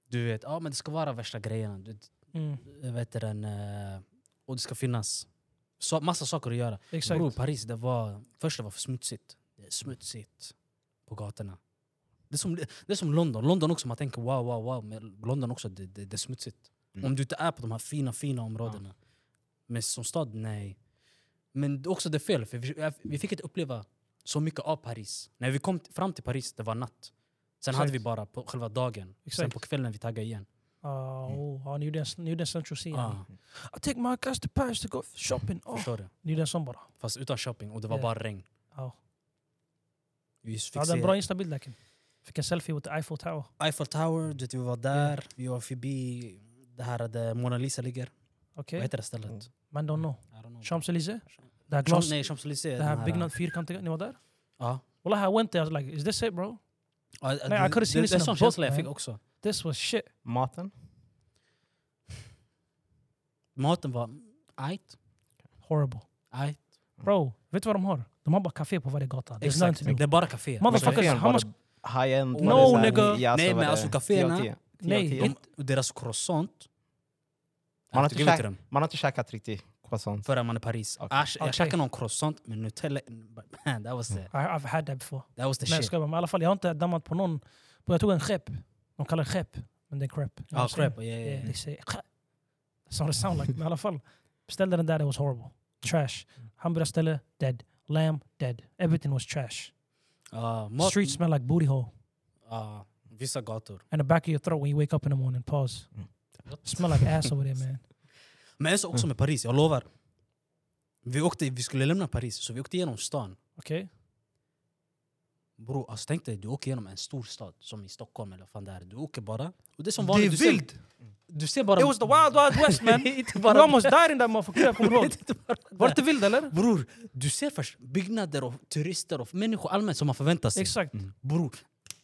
S2: du vet, ja men det ska vara värsta grejerna. Du,
S1: Mm,
S2: vet du, den, eh, och det ska finnas så, massa saker att göra.
S1: exakt.
S2: Bror, Paris, det var, först det var för smutsigt. Det är smutsigt på gatorna. Det är, som, det är som London. London också, man tänker wow, wow, wow. Men London också, det, det, det är smutsigt.
S3: Mm.
S2: Om du inte är på de här fina, fina områdena. Men som stad, nej. Men det är också det är fel, för vi, vi fick inte uppleva så mycket av Paris. När vi kom t- fram till Paris, det var natt. Sen hade vi
S1: Exakt.
S2: bara på själva dagen. Sen
S1: Exakt.
S2: på kvällen vi taggade igen.
S1: Ah, oh, ah, ni gjorde en- ni gjorde en central scene.
S2: Mm. Ah,
S1: I take my cars to Paris to go shopping. Oh.
S2: Förstår du?
S1: Ni gjorde en sån bara.
S2: Fast utan shopping och det var
S1: Ja.
S2: bara regn.
S1: Ja.
S2: Vi
S1: Jag hade en bra
S2: fixerade
S1: instabild leken. Fick en selfie with the Eiffel Tower.
S2: Eiffel Tower, du vet, vi var där. Vi var förbi det här där Mona Lisa ligger.
S1: Okej?
S2: Vad heter det stället?
S3: Mm.
S1: Man don't know.
S2: I don't know.
S1: Champs-Élysées? Det här
S2: Champs-
S1: glas...
S2: Nej, Champs-Élysées.
S1: Det här byggnad fyrkantiga. Ni var där?
S2: eh, Ja.
S1: Wallah, I went there. I was like, is this it bro?
S2: Ja, det-
S1: I could've seen
S2: det-
S1: this
S2: Det är
S1: in
S2: en
S1: a
S2: sån
S1: book,
S2: känsla jag fick
S1: man.
S2: också.
S1: This was shit.
S3: Maten?
S2: Maten var ajt,
S1: Horrible.
S2: ajt.
S1: Bro, vet du vad de har? De har bara café på varje gata. There's nothing to do.
S2: Det är bara kaféer.
S1: Man- Motherfuckers,
S3: Kaféen,
S1: how
S3: var det High-end?
S1: No,
S3: var det så här,
S1: nigga.
S3: ja, så
S2: Nej,
S3: var
S2: men
S3: det
S2: alltså
S3: 10 av
S2: kaféerna-
S3: 10. 10 av
S1: Nej,
S3: 10.
S2: De- och Deras croissant.
S3: Man har
S2: Jag
S3: inte
S2: tycker inte
S3: käkat-
S2: dem
S3: Man har inte käkat riktigt croissant.
S2: förrän man är i Paris.
S3: Okej.
S2: Ash,
S1: Okej.
S2: Jag käkade någon croissant med Nutella. Man, that was the,
S1: I, I've had that before.
S2: that was the
S1: Nej jag
S2: shit.
S1: skojar bara. Men i alla fall, jag har inte dammat på någon. Men Jag tog en skepp. De kallar det skepp. Men det är crepe. You know
S2: Ja,
S1: what I'm saying?
S2: Oh, crepe. Yeah, yeah,
S1: Yeah,
S2: yeah.
S1: they say "Kh-." That's what it sound like. Men i alla fall, beställde den där, it was horrible.
S2: Mm.
S1: Trash. Hamburgarställe, dead. Lamb, dead. Everything was trash.
S2: Ja, mat-
S1: Street smell like booty hole.
S2: ja, vissa gator.
S1: And the back of your throat when you wake up in the morning. Pause. Smell like ass over there man.
S2: Men jag sa
S1: Mm.
S2: också med Paris, jag lovar. Vi, åkte, vi skulle lämna Paris, så vi åkte genom stan.
S1: Okej? Okay?
S2: Bro, alltså tänk dig, du åker genom en stor stad som i Stockholm eller vad fan där. Du åker bara. Och det är som
S1: Det är
S2: vanligt. du
S1: vild.
S2: Ser, du ser bara...
S1: It was the wild wild west man.
S2: Inte
S1: You
S2: bara-
S1: almost died in that motherfucker. Jag kommer ihåg.
S2: Inte bara
S1: Var det
S2: där.
S1: inte vild eller?
S2: Bror, du ser först byggnader och turister och människor allmänt som man förväntar sig.
S1: Exakt.
S2: Bror,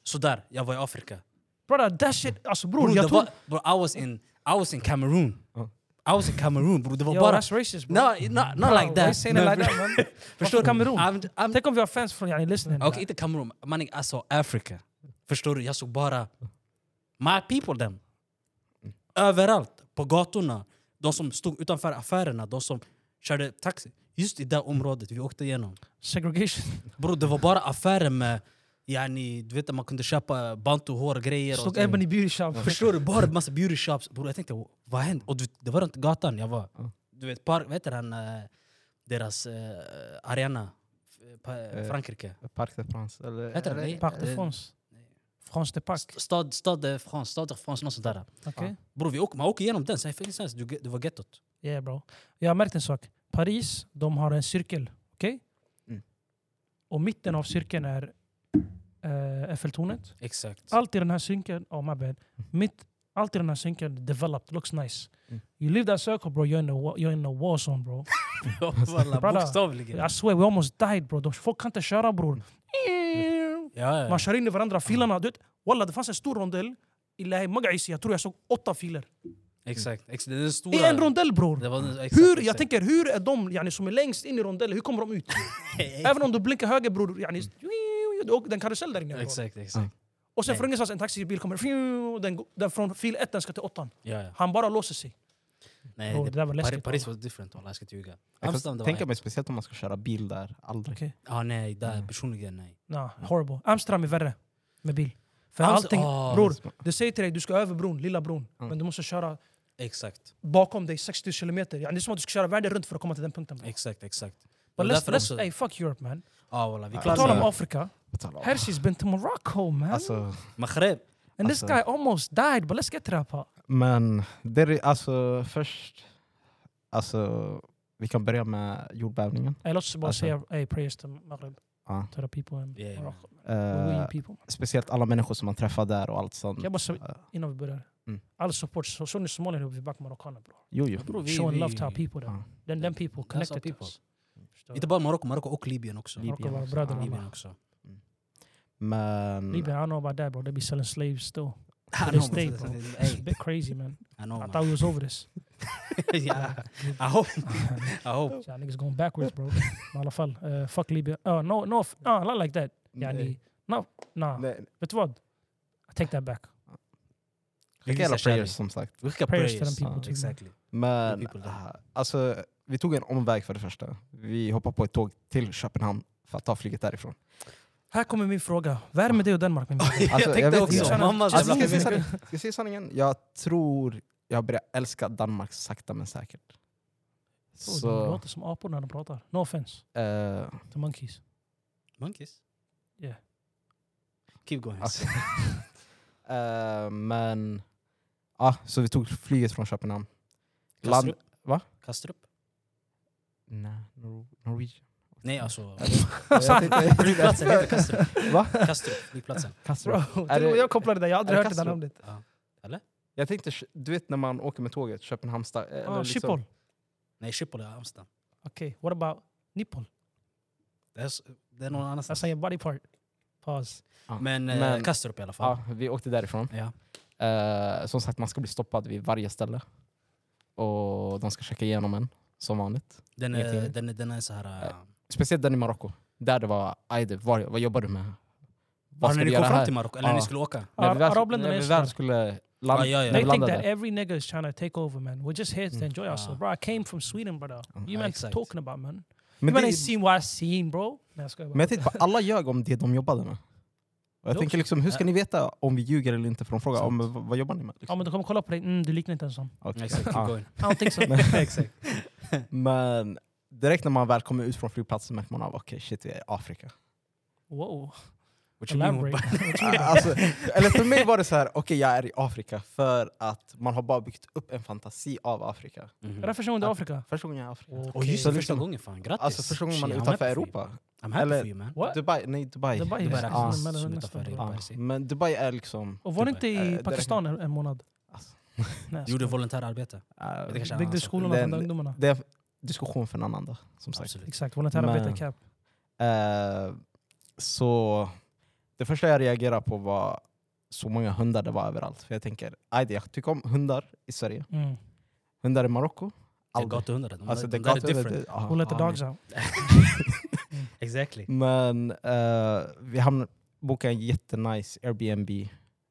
S2: sådär, jag var i Afrika.
S1: Brother, that shit. Alltså bror,
S2: Bror,
S1: jag
S2: det
S1: tog...
S2: var, bror I, was in, I was in Cameroon.
S3: Ja.
S2: I was in Cameroon bror, det var
S1: Yo,
S2: bara...
S1: that's racist bro.
S2: No, not, not like
S1: Why you
S2: that.
S1: saying it
S2: Men-
S1: like that man?
S2: Förstår
S1: Varför
S2: du?
S1: Kamerun?
S2: I'm, I'm,
S1: Tänk om vi har fans från yani listening.
S2: Okej, inte Kamerun. Man, jag såg Afrika. Förstår du? Jag såg bara my people them. Överallt. På gatorna. De som stod utanför affärerna. De som körde taxi. Just i det området vi åkte igenom.
S1: Segregation.
S2: Bro, det var bara affärer med... Yani, du vet att man kunde köpa bantuhår grejer. och
S1: Slog
S2: så.
S1: Ebony Beauty Shop.
S2: Förstår du? Bara massa beauty shops. Bro, jag tänkte, vad hände? Och du, det var runt gatan jag var.
S3: Ja.
S2: Du vet, park, vad heter han? eh, Deras eh, arena. F- pa-
S3: Eh,
S2: Frankrike.
S3: Parc de France? Eller,
S2: Heter det?
S3: eller-
S2: Nej.
S1: Parc de
S2: Eh,
S1: France. France de Parc.
S2: St- Stad, stad de France, stad de France, något sånt där.
S1: Okej?
S2: Bror, vi åker, man åker igenom den, så det finns ens, du, det var gettot.
S1: Yeah bro. Jag har märkt en sak. Paris, de har en cirkel. Okej?
S3: Mm.
S1: Och mitten av cirkeln är eh, Eiffeltornet.
S2: Exakt.
S1: Allt i den här cirkeln, oh my
S2: Mm.
S1: bad. Mitt, allt i den här cirkeln, developed, looks nice.
S3: Mm.
S1: You leave that circle bro, you're in the, wa- you're in the war zone bro.
S2: Walla,
S1: Brada.
S2: bokstavligen.
S1: I swear, we almost died bro. De, folk kan inte köra
S2: Mm.
S1: bror.
S2: Ja, ja.
S1: Man kör in i varandra, filerna. Du vet, walla, det fanns en stor rondell. Illahi magaisi, jag tror jag såg åtta filer.
S2: Exakt. Ex- Det är den stora...
S1: I en rondell bror!
S2: Det var, den- exakt,
S1: Hur, jag
S2: exakt.
S1: tänker, hur är de yani, som är längst in i rondellen, hur kommer de ut? Även om du blinkar höger bror, yani, du åker- den karusell där inne. bror.
S2: Exakt,
S1: Ah.
S2: exakt.
S1: Och sen
S2: Nej.
S1: från ingenstans en taxibil kommer, fiu, den, går- den från fil 1 den ska till åttan.
S2: Ja, ja.
S1: Han bara låser sig.
S2: Nej,
S1: Bror,
S2: det,
S1: det där var
S2: Paris,
S1: läskigt.
S2: Paris
S1: bror.
S2: was different, walla, jag ska inte ljuga.
S3: Jag
S2: Amsterdam,
S3: kan
S2: det var...
S3: tänka
S2: Tänka
S3: mig speciellt om man ska köra bil där. Aldrig.
S1: Okej.
S2: ah, nej, där
S3: Mm.
S2: personligen nej.
S1: Nah, horrible. Amsterdam är värre med bil. För
S2: Amst-
S1: allting,
S2: Ah,
S1: bror, det säger till dig du ska över bron, lilla bron.
S3: Mm.
S1: Men du måste köra
S2: Exakt,
S1: bakom dig 60 kilometer. Yani, det är som att du ska köra världen runt för att komma till den punkten. bror.
S2: exakt, exakt.
S1: But
S2: Och
S1: let's,
S2: därför
S1: let's,
S2: också...
S1: hey, fuck Europe man.
S2: Ja, walla, vi
S3: På
S1: På
S3: Alltså-
S1: tal om
S2: klarade det.
S1: Afrika,
S3: På tal om-
S1: Hershey's been to Morocco man.
S3: Alltså,
S2: Maghreb.
S1: And this
S3: alltså-
S1: guy almost died, but let's get to that part.
S3: men det är alltså först... Alltså, vi kan börja med jordbävningen.
S1: Hey, låt oss bara
S3: Alltså-
S1: säga hey, prayers to Maghreb,
S3: Ja.
S1: to the people in
S2: Yeah, yeah.
S1: Morocco.
S3: Eh,
S1: Uh, people.
S3: speciellt alla människor som man träffar där och allt sånt.
S1: Jag bara så-
S3: Eh,
S1: Innan vi börjar.
S3: Mm.
S1: All support, så såg ni Somalia hur vi backar marockaner bro?
S3: jo, jo.
S2: Bror, vi-
S1: Showing
S2: vi-
S1: love to our people there.
S3: Ja.
S1: Then them people
S2: uh-huh. That's our
S1: connected to
S2: people.
S1: us. Förstår du?
S2: Inte bara Marocko, Marocko och Libyen också.
S3: Libyen
S1: Marocko var
S3: också.
S1: bröderna,
S3: Ja.
S1: man.
S2: Libyen också.
S3: Men...
S1: Libya, I don't know about that bro, they be selling slaves still.
S2: I
S1: this
S2: know,
S1: day,
S2: man.
S1: bro. It's a
S2: Hey,
S1: bit crazy man.
S2: I know,
S1: I
S2: man.
S1: thought we was over this.
S2: yeah. I hope. I hope.
S1: Yeah, niggas going backwards bro. I alla fall, eh, fuck Libya. Uh, no, no, f- uh, not like that. Yani, no, nah.
S3: Nej.
S1: Vet du vad? I take that back.
S3: Skicka alla prayers som sagt.
S2: Vi skickar
S1: Prayers
S2: prayers.
S1: till den people
S2: ja,
S1: too.
S2: uh, exactly.
S3: Men
S2: The people there.
S3: ah, alltså, vi tog en omväg för det första. Vi hoppade på ett tåg till Köpenhamn för att ta flyget därifrån.
S1: Här kommer min fråga. Vad är det med dig och Danmark min bror?
S3: Alltså,
S2: jag tänkte
S3: jag vet
S2: också,
S1: inte.
S2: mammas
S3: Alltså,
S2: jävla
S3: ska, jag säga
S2: familj.
S3: sanningen, ska jag säga sanningen? Jag tror jag börjar älska Danmark sakta men säkert.
S1: Så. De
S3: Så,
S1: låter som apor när de pratar. No offense
S3: eh,
S1: to monkeys.
S2: Monkeys?
S1: Yeah.
S2: Keep going.
S3: Alltså. eh, men... Ja, så vi tog flyget från Köpenhamn. Land,
S2: Kastrup?
S3: va?
S2: Kastrup?
S3: Nej, Nor- Norwegian.
S2: Nej alltså...
S3: Jag tänkte-
S2: Flygplatsen heter Kastrup.
S3: Va?
S2: Kastrup, flygplatsen.
S3: Kastrup.
S1: Bro, till och med
S3: det-
S1: jag kopplade det, jag har aldrig
S3: är det
S1: hört det där
S3: Kastrup?
S1: namnet.
S3: Jag tänkte, du vet när man åker med tåget, Köpenhamn... sta- eller
S1: Ah,
S3: liksom-
S1: Schiphol.
S2: Nej, Schiphol är Amsterdam.
S1: Okej, what about nipple?
S2: Det är, s- det är någon annanstans.
S1: Alltså your body part. Pause.
S3: Ja.
S2: Men, eh,
S3: Men-
S2: Kastrup i alla fall.
S3: Ja, vi åkte därifrån.
S2: Ja.
S3: Eh, som sagt, man ska bli stoppad vid varje ställe. Och de ska checka igenom en, som vanligt.
S2: Den,
S3: Ingenting
S2: är,
S3: mer.
S2: den, är, den är så här... eh,
S3: Speciellt den i Marocko. Där det var, aj, det, vad, vad jobbar du med? Vad
S2: Bara
S3: ska
S2: när ni
S3: du
S2: kom
S3: göra
S2: fram
S3: här?"
S2: till Marocko, eller när ni
S3: Ja.
S2: skulle åka.
S3: När vi
S1: Ar-
S3: väl,
S1: Arabländerna
S3: när
S1: är
S3: vi
S1: så.
S3: väl skulle
S2: Ja,
S3: landa,
S2: ja, ja.
S3: När
S1: They
S3: vi
S1: think
S3: landade
S1: that every nigga is trying to take over man. We're just here to
S3: Mm.
S1: enjoy ourselves.
S2: Ah.
S1: Bro, I came from Sweden brother. You
S2: Ah,
S1: man
S2: exakt.
S1: talking about man.
S3: Men,
S1: You man
S3: det,
S1: ain't seen what I've seen bro. Nej jag skojar
S3: men
S1: bara.
S3: jag tänkte på, alla ljög om det de jobbade med. Och jag
S1: Jo.
S3: tänker liksom, hur ska ni veta om vi ljuger eller inte? För de frågar,
S2: Sant.
S3: om, vad, vad jobbar ni med?
S1: Ja
S3: Liksom.
S1: men de kommer kolla på dig, mm, du liknar inte en sån.
S3: Okej.
S2: Exakt, keep
S3: Ja.
S2: going.
S1: I don't think so.
S2: Exakt.
S3: Men direkt när man väl kommer ut från flygplatsen märker man av, okej shit, vi är i Afrika.
S1: Wow,
S2: What you mean?
S1: elaborate.
S3: alltså, eller för mig var det så här, okej jag är i Afrika för att man har bara byggt upp en fantasi av Afrika.
S1: Är det
S2: Mhm.
S1: första gången du är i Afrika?
S3: Första gången jag är i Afrika.
S2: Och just
S1: Okej.
S2: det,
S3: Så
S2: första
S3: liksom-
S2: gången fan, grattis!
S3: Alltså första gången man är
S2: Shit, I'm
S3: utanför
S2: happy for you.
S3: Europa.
S2: I'm happy
S3: Eller-
S2: for you man.
S1: What?
S3: Dubai, nej
S1: Dubai,
S3: Dubai.
S2: Dubai
S1: Dubai
S2: räknas
S1: ah,
S3: som
S1: mellan
S2: utanför
S1: nästan,
S2: Europa.
S1: bro.
S3: Ja,
S2: Dubai.
S3: men Dubai är liksom...
S1: Och var det inte
S2: Dubai.
S3: Eh, det
S1: i
S3: räknas.
S1: Pakistan en, en månad?
S3: Alltså,
S1: Nej,
S2: Du gjorde volontärarbete.
S3: eh,
S2: Det kanske är en
S1: Byggde
S2: annan sak.
S1: skolorna för de
S3: Den-
S1: ungdomarna?
S3: det är en diskussion för en annan dag, som sagt.
S2: Absolut.
S1: Exakt, volontärarbete
S3: typ. Men-
S1: cap.
S3: Eh, så det första jag reagerade på var så många hundar det var överallt. För jag tänker, aj, det- jag tycker om hundar i Sverige.
S1: Mm.
S3: Hundar i Marocko,
S2: Det är
S3: aldrig.
S2: gatuhundar. De,
S3: Alltså,
S2: de
S3: det
S2: där är
S3: gator- det-
S2: different.
S3: det- ja,
S1: Who let the
S3: ja.
S1: dogs out?
S2: Exactly.
S3: Men eh, vi hamn, bokade en jättenice Airbnb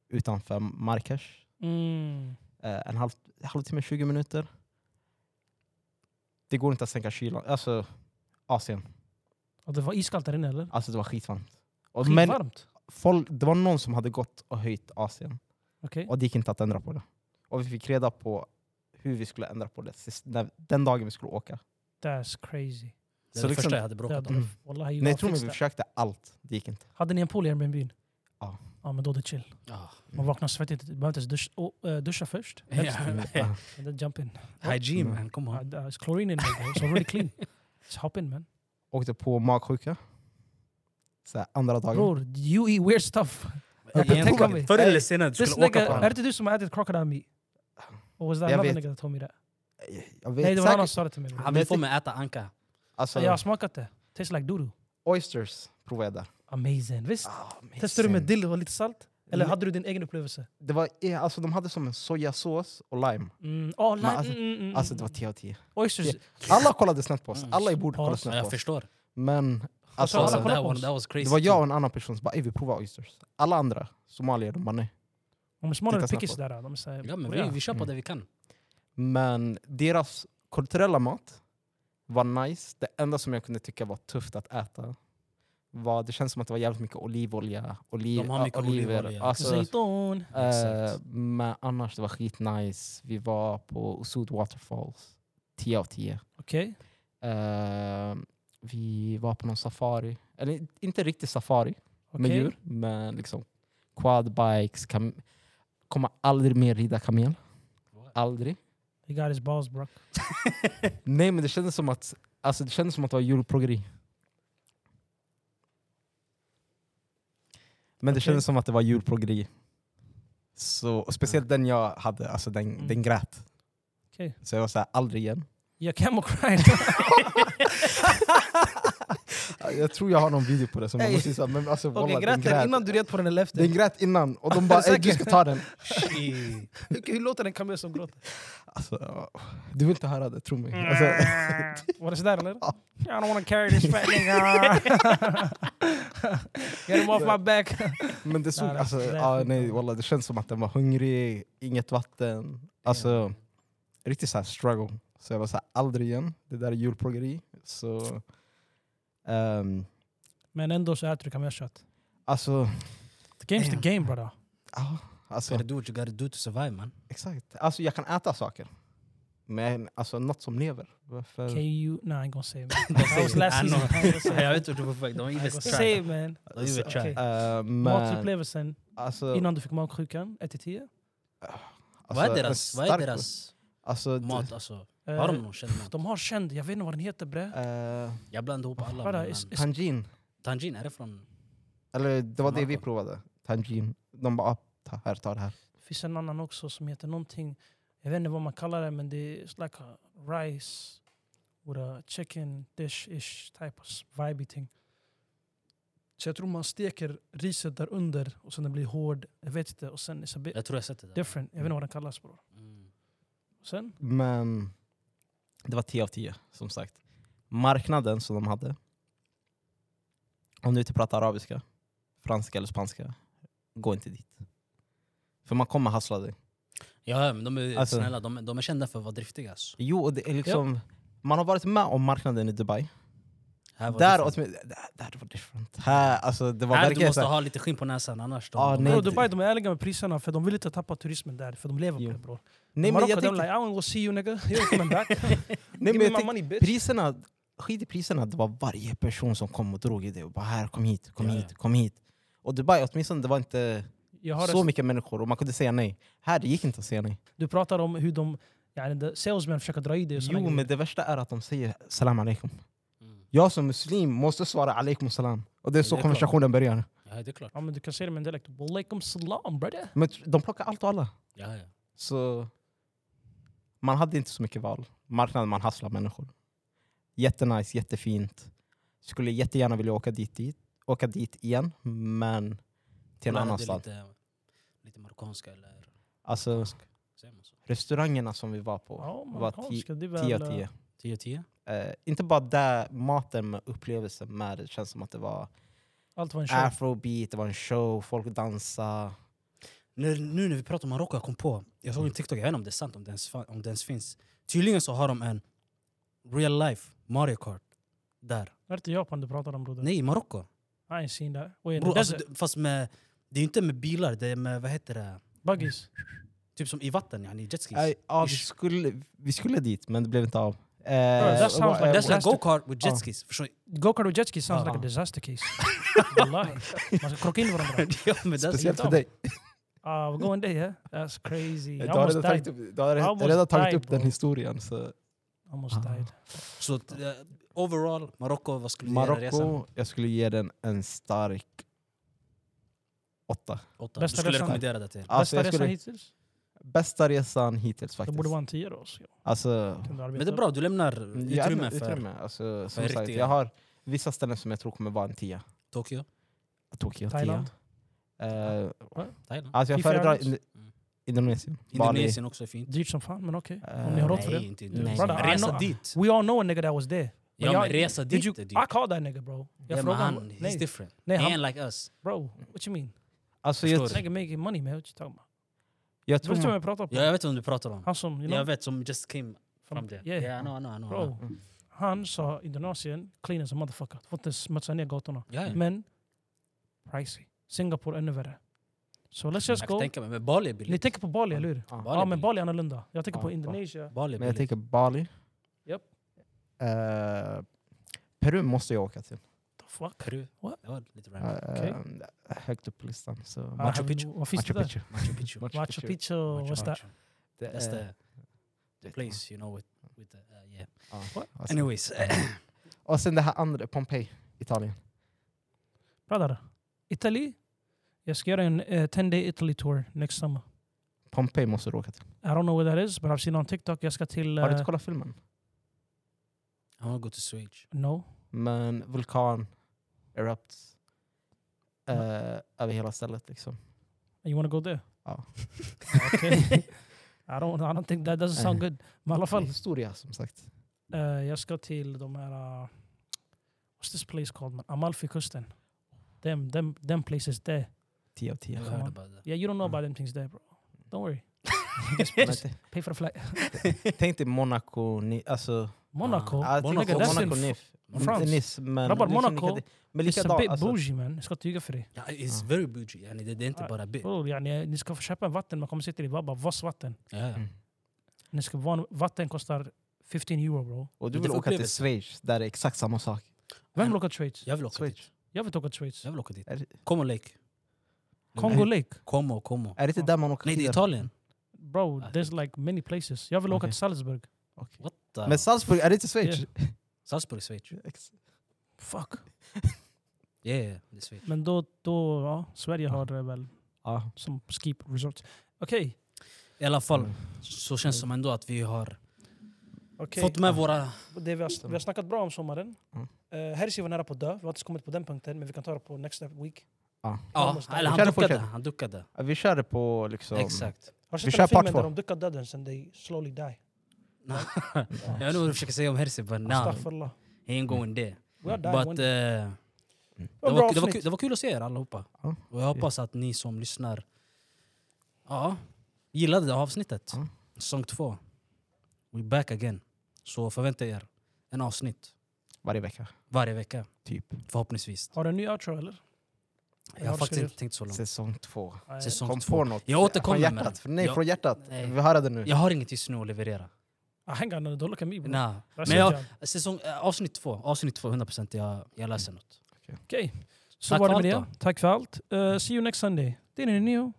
S3: utanför Marrakesh.
S1: Mm.
S3: Eh, en halv, halvtimme, 20 minuter. Det går inte att sänka kylan. Alltså, Asien.
S1: Och det var iskallt där inne eller?
S3: Alltså det var skitvarmt. Och, men
S1: Skitvarmt.
S3: folk, det var någon som hade gått och höjt Asien.
S1: Okej.
S3: Och det gick inte att ändra på det. Och vi fick reda på hur vi skulle ändra på det sist, när, den dagen vi skulle åka.
S1: That's crazy.
S2: Det är
S3: Så
S2: det
S3: liksom-
S2: första jag hade
S1: Det
S2: bråkat
S1: hade-
S2: om.
S3: Mm.
S1: Wallahi, jag
S3: Nej, jag tror
S1: fixar
S3: vi
S1: det.
S3: försökte allt, det gick inte.
S1: Hade ni en pool i Airbnb?
S3: Ja. Mm.
S1: Ja men då är det chill.
S2: Ah.
S1: Man vaknar svettigt, du behöver inte ens duscha, oh, eh, duscha först.
S2: Ja.
S1: And then jump in.
S2: Hygiene
S3: Mm.
S2: man, come
S1: Uh,
S2: on.
S1: there's chlorine in there bro. It's already clean. Just hop in man.
S3: Åkte på magsjuka. Så här, andra dagen.
S1: Bror, you eat weird stuff.
S2: Egentligen,
S1: tänker mig.
S2: Förr eller senare du
S1: This
S2: skulle åka
S1: nigga,
S2: på
S1: är det
S2: honom.
S1: inte du som har ätit crocodile meat? Or was that
S3: Jag
S1: another
S3: vet.
S1: nigga that told me that?
S3: Jag vet
S1: Nej det var någon annan
S3: säkert,
S1: som sa det till mig. bro.
S2: Han vill få mig att äta anka.
S3: alltså,
S1: Jag har smakat det. Tastes like doodoo.
S3: Oysters provade jag där.
S1: Amazing. Visst?
S3: Ah,
S1: Testade du med
S3: amazing.
S1: dill och lite salt? Eller
S3: Nej.
S1: hade du din egen upplevelse?
S3: det var, ja, alltså, de hade som en sojasås och lime.
S1: Mm. Oh, lime.
S3: alltså-
S1: mm, mm, mm,
S3: Alltså
S1: mm.
S3: det var 10 av 10.
S1: Oysters.
S3: Ja, Alla kollade snett på oss.
S2: Mm.
S3: Alla i bordet kollade
S1: Paus.
S2: Ja,
S3: snett på
S2: jag
S3: oss.
S2: förstår.
S3: Men alltså,
S1: alla
S2: Alltså,
S1: kollar
S2: that,
S1: på
S2: one,
S1: oss.
S2: that was crazy.
S3: det var jag och en annan person som bara "Ey, vi provar oysters. Alla andra somalier de bara nej.
S1: De är smartare än
S3: Titta
S1: pickis
S3: snabbt
S1: där. De säger,
S2: Ja, men vi, vi kör på
S3: Mm.
S2: det vi kan.
S3: Men deras kulturella mat var nice. Det enda som jag kunde tycka var tufft att äta var, det känns som att det var jävligt mycket olivolja. Oliv,
S2: De har mycket
S3: äh, oliver.
S2: olivolja.
S3: Alltså,
S1: Zaiton.
S3: eh,
S2: Exakt.
S3: men annars det var skitnice. Vi var på Osud Waterfalls. 10 av 10.
S1: Okej.
S3: Eh, vi var på någon safari. Eller inte riktigt safari med
S1: okej.
S3: djur, men liksom quadbikes. Kam- kommer aldrig mer rida kamel. Aldrig.
S1: He got his balls bro.
S3: Nej, men det kändes som att, alltså, det, kändes som att det var djurplågeri. Men det
S1: Okej.
S3: kändes som att det var djurplågeri. Så, och speciellt den jag hade, alltså den,
S1: Mm.
S3: den grät.
S1: Okej.
S3: Så jag var såhär, aldrig igen.
S1: Jag camel cry.
S3: Jag tror jag har någon video på det. Som
S1: Hey.
S3: jag måste säga, men alltså,
S1: Okej,
S3: wallah, den
S1: grät den innan du red på den eller efter?
S3: Den grät innan och de bara "Ey, du ska ta den.
S1: Hur- Hur låter en kamel som gråter?
S3: Alltså, åh, du vill inte höra det, tro mig. Alltså,
S1: Var det sådär eller? I don't wanna carry this fat nigga. Get him off my back.
S3: men det, såg,
S1: Nej, det-
S3: alltså,
S1: det är
S3: ah,
S1: sjukt.
S3: nej, wallah, det känns som att den var hungrig, inget vatten. Alltså, riktigt så här struggle. Så jag var så här, aldrig igen. Det där är djurplågeri. Så, ehm,
S1: Men ändå så äter du kamelkött.
S3: alltså,
S1: The game's the game brother.
S3: ja,
S2: You
S3: alltså,
S2: gotta do what you gotta do to survive man.
S3: exakt. Alltså, jag kan äta saker. Men alltså, något som lever. Varför?
S1: Can you... Nah, I ain't gonna say it. man.
S2: That
S1: was last season.
S2: Jag vet inte hur du får iväg. De har
S1: I ain't gonna
S2: investerat.
S1: say it
S2: De
S1: man.
S2: har ju
S1: Okej.
S2: try.
S3: Eh, men,
S1: Matupplevelsen
S3: alltså,
S1: innan du fick magsjukan, 1-10?
S3: alltså,
S2: Vad är
S3: en
S2: deras, vad är
S3: stark-
S2: deras
S3: Alltså,
S2: mat alltså? Har de
S1: Eh,
S2: någon känd man?
S1: de har känd, jag vet inte vad den heter bre.
S3: Eh,
S2: Jag blandar ihop alla.
S1: Bara,
S2: men
S1: is-
S2: han-
S1: is-
S3: tangin.
S2: Tangin, är det från...
S3: Eller det var det vi
S2: Marco.
S3: provade. Tangin. De bara, ah, ta här, ta det här.
S1: Det finns en annan också som heter någonting, jag vet inte vad man kallar det men det är it's like a rice with a chicken dish-ish type of vibey thing. Så jag tror man steker riset där under och sen det blir hård, jag vet inte, och sen it's a bit
S2: Jag tror jag sett det där.
S1: different. Jag vet inte vad den kallas bror.
S2: Mm.
S1: Sen,
S3: Men det var 10 av 10 som sagt. Marknaden som de hade. Om du inte pratar arabiska, franska eller spanska, gå inte dit. För man kommer hassla dig.
S2: Ja, men de är
S3: Alltså-
S2: snälla. De, de är kända för att vara driftiga. Alltså.
S3: Jo, och det är liksom, man har varit med om marknaden i Dubai.
S2: Här var
S3: Där,
S2: different.
S3: åtminstone- där, där var det different. Här, alltså, det var
S2: här du
S3: verkligen
S2: måste
S3: så här-
S2: ha lite skinn på näsan annars.
S3: Ah,
S2: de,
S3: Nej,
S1: bror
S3: det-
S1: Dubai de är ärliga med priserna för de vill inte tappa turismen där, för de lever
S3: Jo.
S1: på det bror.
S3: Nej, men
S1: Marocco,
S3: jag
S1: they're
S3: tänkte,
S1: like, I wanna go see you nigga, you're coming back.
S3: nej,
S1: Give
S3: men
S1: me
S3: jag
S1: my
S3: tänkte
S1: money bitch.
S3: priserna, skit i priserna, det var varje person som kom och drog i det. Och bara här, kom hit, kom
S2: Ja,
S3: hit,
S2: ja.
S3: kom hit. Och Dubai, åtminstone det var inte
S1: Jag har
S3: så mycket människor och man kunde säga nej. Här, det gick inte att säga nej.
S1: Du pratar om hur de, yani, the salesmen försöker dra i dig och såna
S3: Jo,
S1: grejer.
S3: men det värsta är att de säger salam alaikum.
S2: Mm.
S3: Jag som muslim måste svara alaikum salam. Och det är
S2: Ja,
S3: så
S2: det är klart.
S3: konversationen börjar.
S2: Ja, det är klart.
S1: Ja men du kan säga det med en dialekt. Walaikum salam brother.
S3: Men de plockar allt och alla.
S2: Ja, ja.
S3: Så man hade inte så mycket val. Marknaden, man hasslar människor. Jättenice, jättefint. Skulle jättegärna vilja åka dit, dit, åka dit igen, men till en
S2: Kolla,
S3: annan
S2: det är
S3: stad.
S2: Lite, lite marockanska eller...
S3: Alltså,
S2: Säger man så?
S3: restaurangerna som vi var på,
S1: Ja,
S3: var
S1: marockanska, det är väl...
S3: 10 av 10.
S2: 10-10?
S3: Eh, inte bara där maten, men upplevelsen med det. Det känns som att det var
S1: Allt
S3: Ah.
S1: var en show.
S3: afrobeat, det var en show, folk dansade.
S2: Nu, nu när vi pratar om Marocko, jag kom på. Jag såg en TikTok, jag vet inte om det är sant, om det ens, fa- om det ens finns. Tydligen så har de en real life Mario Kart där.
S1: Var det inte Japan du pratade om Ah, broder?
S2: Nej, i Marocko.
S1: I ain't seen that. Wait, in
S2: Bro,
S1: the
S2: alltså,
S1: desert.
S2: det- fast med, det är inte med bilar, det är med, vad heter det?
S1: Buggies.
S2: Typ som i vatten, yani, jetskis.
S3: Eh, ja, vi, skulle, vi skulle dit, men det blev inte av. Eh,
S1: that sounds like-
S3: eh,
S2: That's like
S1: Plastic.
S2: go-kart with
S3: Ja.
S2: jetskis. Förstår du?
S1: Go-kart och jetski sounds like a
S3: Ja.
S1: disaster case. Wallahi. Man ska krocka in varandra.
S2: ja, men that's-
S3: Speciellt för dig.
S1: Ah, we're going there yeah? That's crazy. I
S3: Du har
S1: almost
S3: redan tagit
S1: died.
S3: upp, du har
S1: I
S3: redan,
S1: almost
S3: redan tagit
S1: died,
S3: upp den
S1: bro.
S3: historien. Så.
S1: Almost died.
S2: Så eh, overall, Marocko, vad skulle du ge den resan?
S3: Marocko, jag skulle ge den en stark åtta.
S2: Åtta. Du
S1: Bästa
S2: skulle
S1: resan.
S2: rekommendera det till?
S1: Bästa
S3: Alltså, jag
S1: resan
S3: skulle,
S1: hittills?
S3: bästa resan hittills
S1: Det
S3: faktiskt.
S1: borde vara en 10 då. så jag
S3: Alltså,
S1: kunde
S2: Men
S1: arbeta
S2: det är
S1: upp.
S2: bra, du lämnar
S3: jag-
S2: utrymme för
S3: utrymme. Alltså, som
S2: riktiga.
S3: sagt, jag har vissa ställen som jag tror kommer vara en tia.
S2: Tokyo,
S3: Tokyo,
S1: Thailand?
S3: tia. Eh,
S2: Thailand.
S3: alltså jag
S1: Fifty
S3: föredrar
S1: Islands?
S3: Ind- Indonesien.
S2: Indonesien också är fint.
S1: Dyrt som fan, men okej.
S3: Eh,
S1: Om ni har råd för
S2: Nej,
S1: det.
S2: inte
S3: Nej.
S2: Indonesien.
S1: Brother,
S2: Men
S1: I
S2: Resa
S1: know-
S2: dit.
S1: We all know a nigga that was there. But
S2: Ja,
S1: jag-
S2: men resa
S1: Did
S2: dit
S1: you, ah,
S2: är dyrt.
S1: I called that nigga bro. Jag
S2: Ja, men
S1: frågade
S2: han,
S1: honom.
S2: he's
S1: Nej,
S2: different.
S1: nej,
S2: He
S1: han,
S2: ain't like us.
S1: bro. What you mean?
S3: Alltså, jag,
S2: Förstår
S1: Nigga making money man, what you talking about? Du
S3: jag
S1: vet
S3: tror...
S1: inte vad jag pratar om?
S2: Ja, jag vet vem du pratar om.
S1: Han som, you know,
S2: Jag vet, som just came from there.
S1: Yeah.
S2: Yeah, I know, I know, I know.
S1: Bro, han sa Indonesien, clean as a motherfucker. Får inte smutsa ner gatorna.
S2: Ja, ja.
S1: Men, pricey. Singapore ännu värre. So let's just
S2: Jag kan
S1: go.
S2: tänka mig, men Bali är
S1: Ni
S2: billigt.
S1: tänker på Bali, eller hur?
S3: Ja.
S1: Ja, men
S2: billigt.
S1: Bali är annorlunda. Jag tänker
S3: Ja,
S1: på
S3: ja.
S1: Indonesia.
S2: Bali är
S3: Men jag
S2: billigt.
S3: tänker Bali.
S1: Japp.
S3: Eh, Peru måste jag åka till.
S1: The fuck?
S2: Peru.
S1: What?
S2: Det var lite random.
S3: Eh,
S1: Okej.
S3: Högt upp på listan. Så
S1: I
S3: Machu,
S1: Ah, have
S2: Picchu.
S1: no- Vad finns det där?
S3: Picchu.
S2: Machu Picchu.
S3: Machu
S1: Machu
S3: Picchu. Eh,
S1: Picchu,
S2: Machu
S1: what's that?
S2: Picchu.
S3: Det
S2: That's
S3: är-
S2: the
S3: det-
S2: place, you know, with, with the, uh, yeah.
S3: ja,
S1: What?
S3: alltså.
S2: Anyways.
S3: Och sen det här andra, Pompeji, Italien.
S1: Brother, Italy? Jag ska göra en eh, 10 day Italy tour next summer.
S3: Pompeji måste du åka till.
S1: I don't know what that is, but I've seen on TikTok. Jag ska till...
S3: Har du
S1: eh,
S3: inte kollat filmen?
S2: I wanna go to Swedish.
S1: no.
S3: Men vulkan erupts eh, över hela stället. Liksom.
S1: You wanna go there?
S3: Ja.
S1: Okay. I don't, I don't think that doesn't sound
S3: Eh.
S1: good. Men i alla fall,
S3: Historia som sagt.
S1: eh, jag ska till de här... eh, what's this place called man? Amalfikusten. Them, them, them places there.
S3: 10 av 10.
S2: Never
S1: come
S2: heard
S1: on.
S2: about that.
S1: Yeah, you don't know
S3: Mm.
S1: about them things there bro. Don't worry.
S3: Men t-
S1: Pay for the flight.
S3: Tänk dig Monaco, ni, alltså...
S1: Monaco?
S3: jag
S2: Monaco,
S3: tänker
S1: that's in
S3: Monaco, Nif,
S1: France.
S3: Nice, men
S1: Grabbar,
S3: liksom
S1: Monaco,
S3: likad- men
S1: It's a
S3: likadant,
S1: bit
S3: alltså,
S1: bougie man. Jag ska inte ljuga för dig.
S2: Ja, it's
S3: Ja.
S2: very bougie. Yani, det, det är inte
S1: Ja.
S2: bara bit.
S1: Bro, yani, ni ska få köpa en vatten, man kommer se till det. Bara vass vatten.
S2: Ja, ja.
S3: Mm.
S1: Ni ska, van- vatten kostar 15 euro bro.
S3: Och du
S2: Men det
S3: vill
S2: får
S3: åka till
S2: upplevelse.
S3: Schweiz där det är exakt samma sak.
S1: Vem
S2: Men-
S1: vill åka till Schweiz?
S2: Jag vill åka
S3: Schweiz.
S2: dit.
S1: Jag vill åka till Schweiz.
S2: Jag vill åka dit.
S3: Är det-
S2: Como Lake.
S1: Kongo Lake?
S2: Como, Como.
S3: Är det inte där man åker
S2: Nej, det är
S3: skidor?
S2: Italien.
S1: Bro,
S2: Ah,
S1: there's like many places. Jag vill åka
S3: Okej.
S1: till Salzburg.
S3: Okej.
S2: What? fattar.
S3: Men Salzburg, är det inte Schweiz?
S1: Ja.
S2: Salzburg, Schweiz.
S3: Ex-
S1: Fuck.
S2: Ja, ja, det är Schweiz.
S1: Men då, då ja, Sverige har eh, väl
S3: Ja.
S1: som skip resorts. Okej.
S2: I alla fall
S3: Mm.
S2: så känns det som ändå att vi har
S1: okej.
S2: fått med våra...
S1: Det vi, har, vi har snackat bra om sommaren.
S3: Mm.
S1: Eh, Herzi var nära på att dö. Vi har inte kommit på den punkten, men vi kan ta det på next week.
S2: Ja, eller han
S3: Kör,
S2: duckade.
S3: fortsätt.
S2: Han duckade.
S3: Ja, Vi körde på liksom...
S2: Exakt.
S1: Har du
S3: Vi
S1: sett
S3: kör
S1: den
S3: part
S1: filmen
S3: två.
S1: där de duckar döden sen they slowly die?
S2: Jag vet inte vad du försöker säga om Herzi, men nah,
S1: Astaghfirullah.
S2: he ain't
S3: Mm.
S2: going there.
S1: We are dying one
S2: But,
S1: day.
S2: eh,
S1: Det var
S2: det,
S1: bra
S2: var, det, var,
S1: avsnitt.
S2: kul- det var kul att se er allihopa.
S3: Ja.
S2: Och jag hoppas att ni som lyssnar ja, gillade det här avsnittet.
S3: Ja.
S2: Säsong två. We're back again. Så förvänta er en avsnitt
S3: Varje vecka,
S2: varje vecka.
S3: typ.
S2: Förhoppningsvis.
S1: Har du en ny outro eller?
S2: Jag har
S1: Ja,
S2: faktiskt
S1: ska
S2: inte tänkt så långt.
S3: Säsong två.
S1: Nej.
S2: Säsong
S3: Kom
S2: två.
S3: på något.
S2: Jag återkommer
S3: från
S2: med
S3: hjärtat.
S2: det.
S3: Nej,
S2: Jag-
S3: från hjärtat.
S2: Nej.
S3: Vi hör det nu.
S2: Jag har inget just nu att leverera.
S1: Ah, hang on, don't look at me bro.
S2: Nah.
S1: That's
S2: Men jag,
S1: your job.
S2: säsong, eh, avsnitt två, avsnitt två, 100% jag, jag läser något.
S1: Okej, så
S2: Tack
S1: var
S2: för
S1: det med
S2: allt
S1: det. Tack för allt. Eh, see you next Sunday. Det är ni,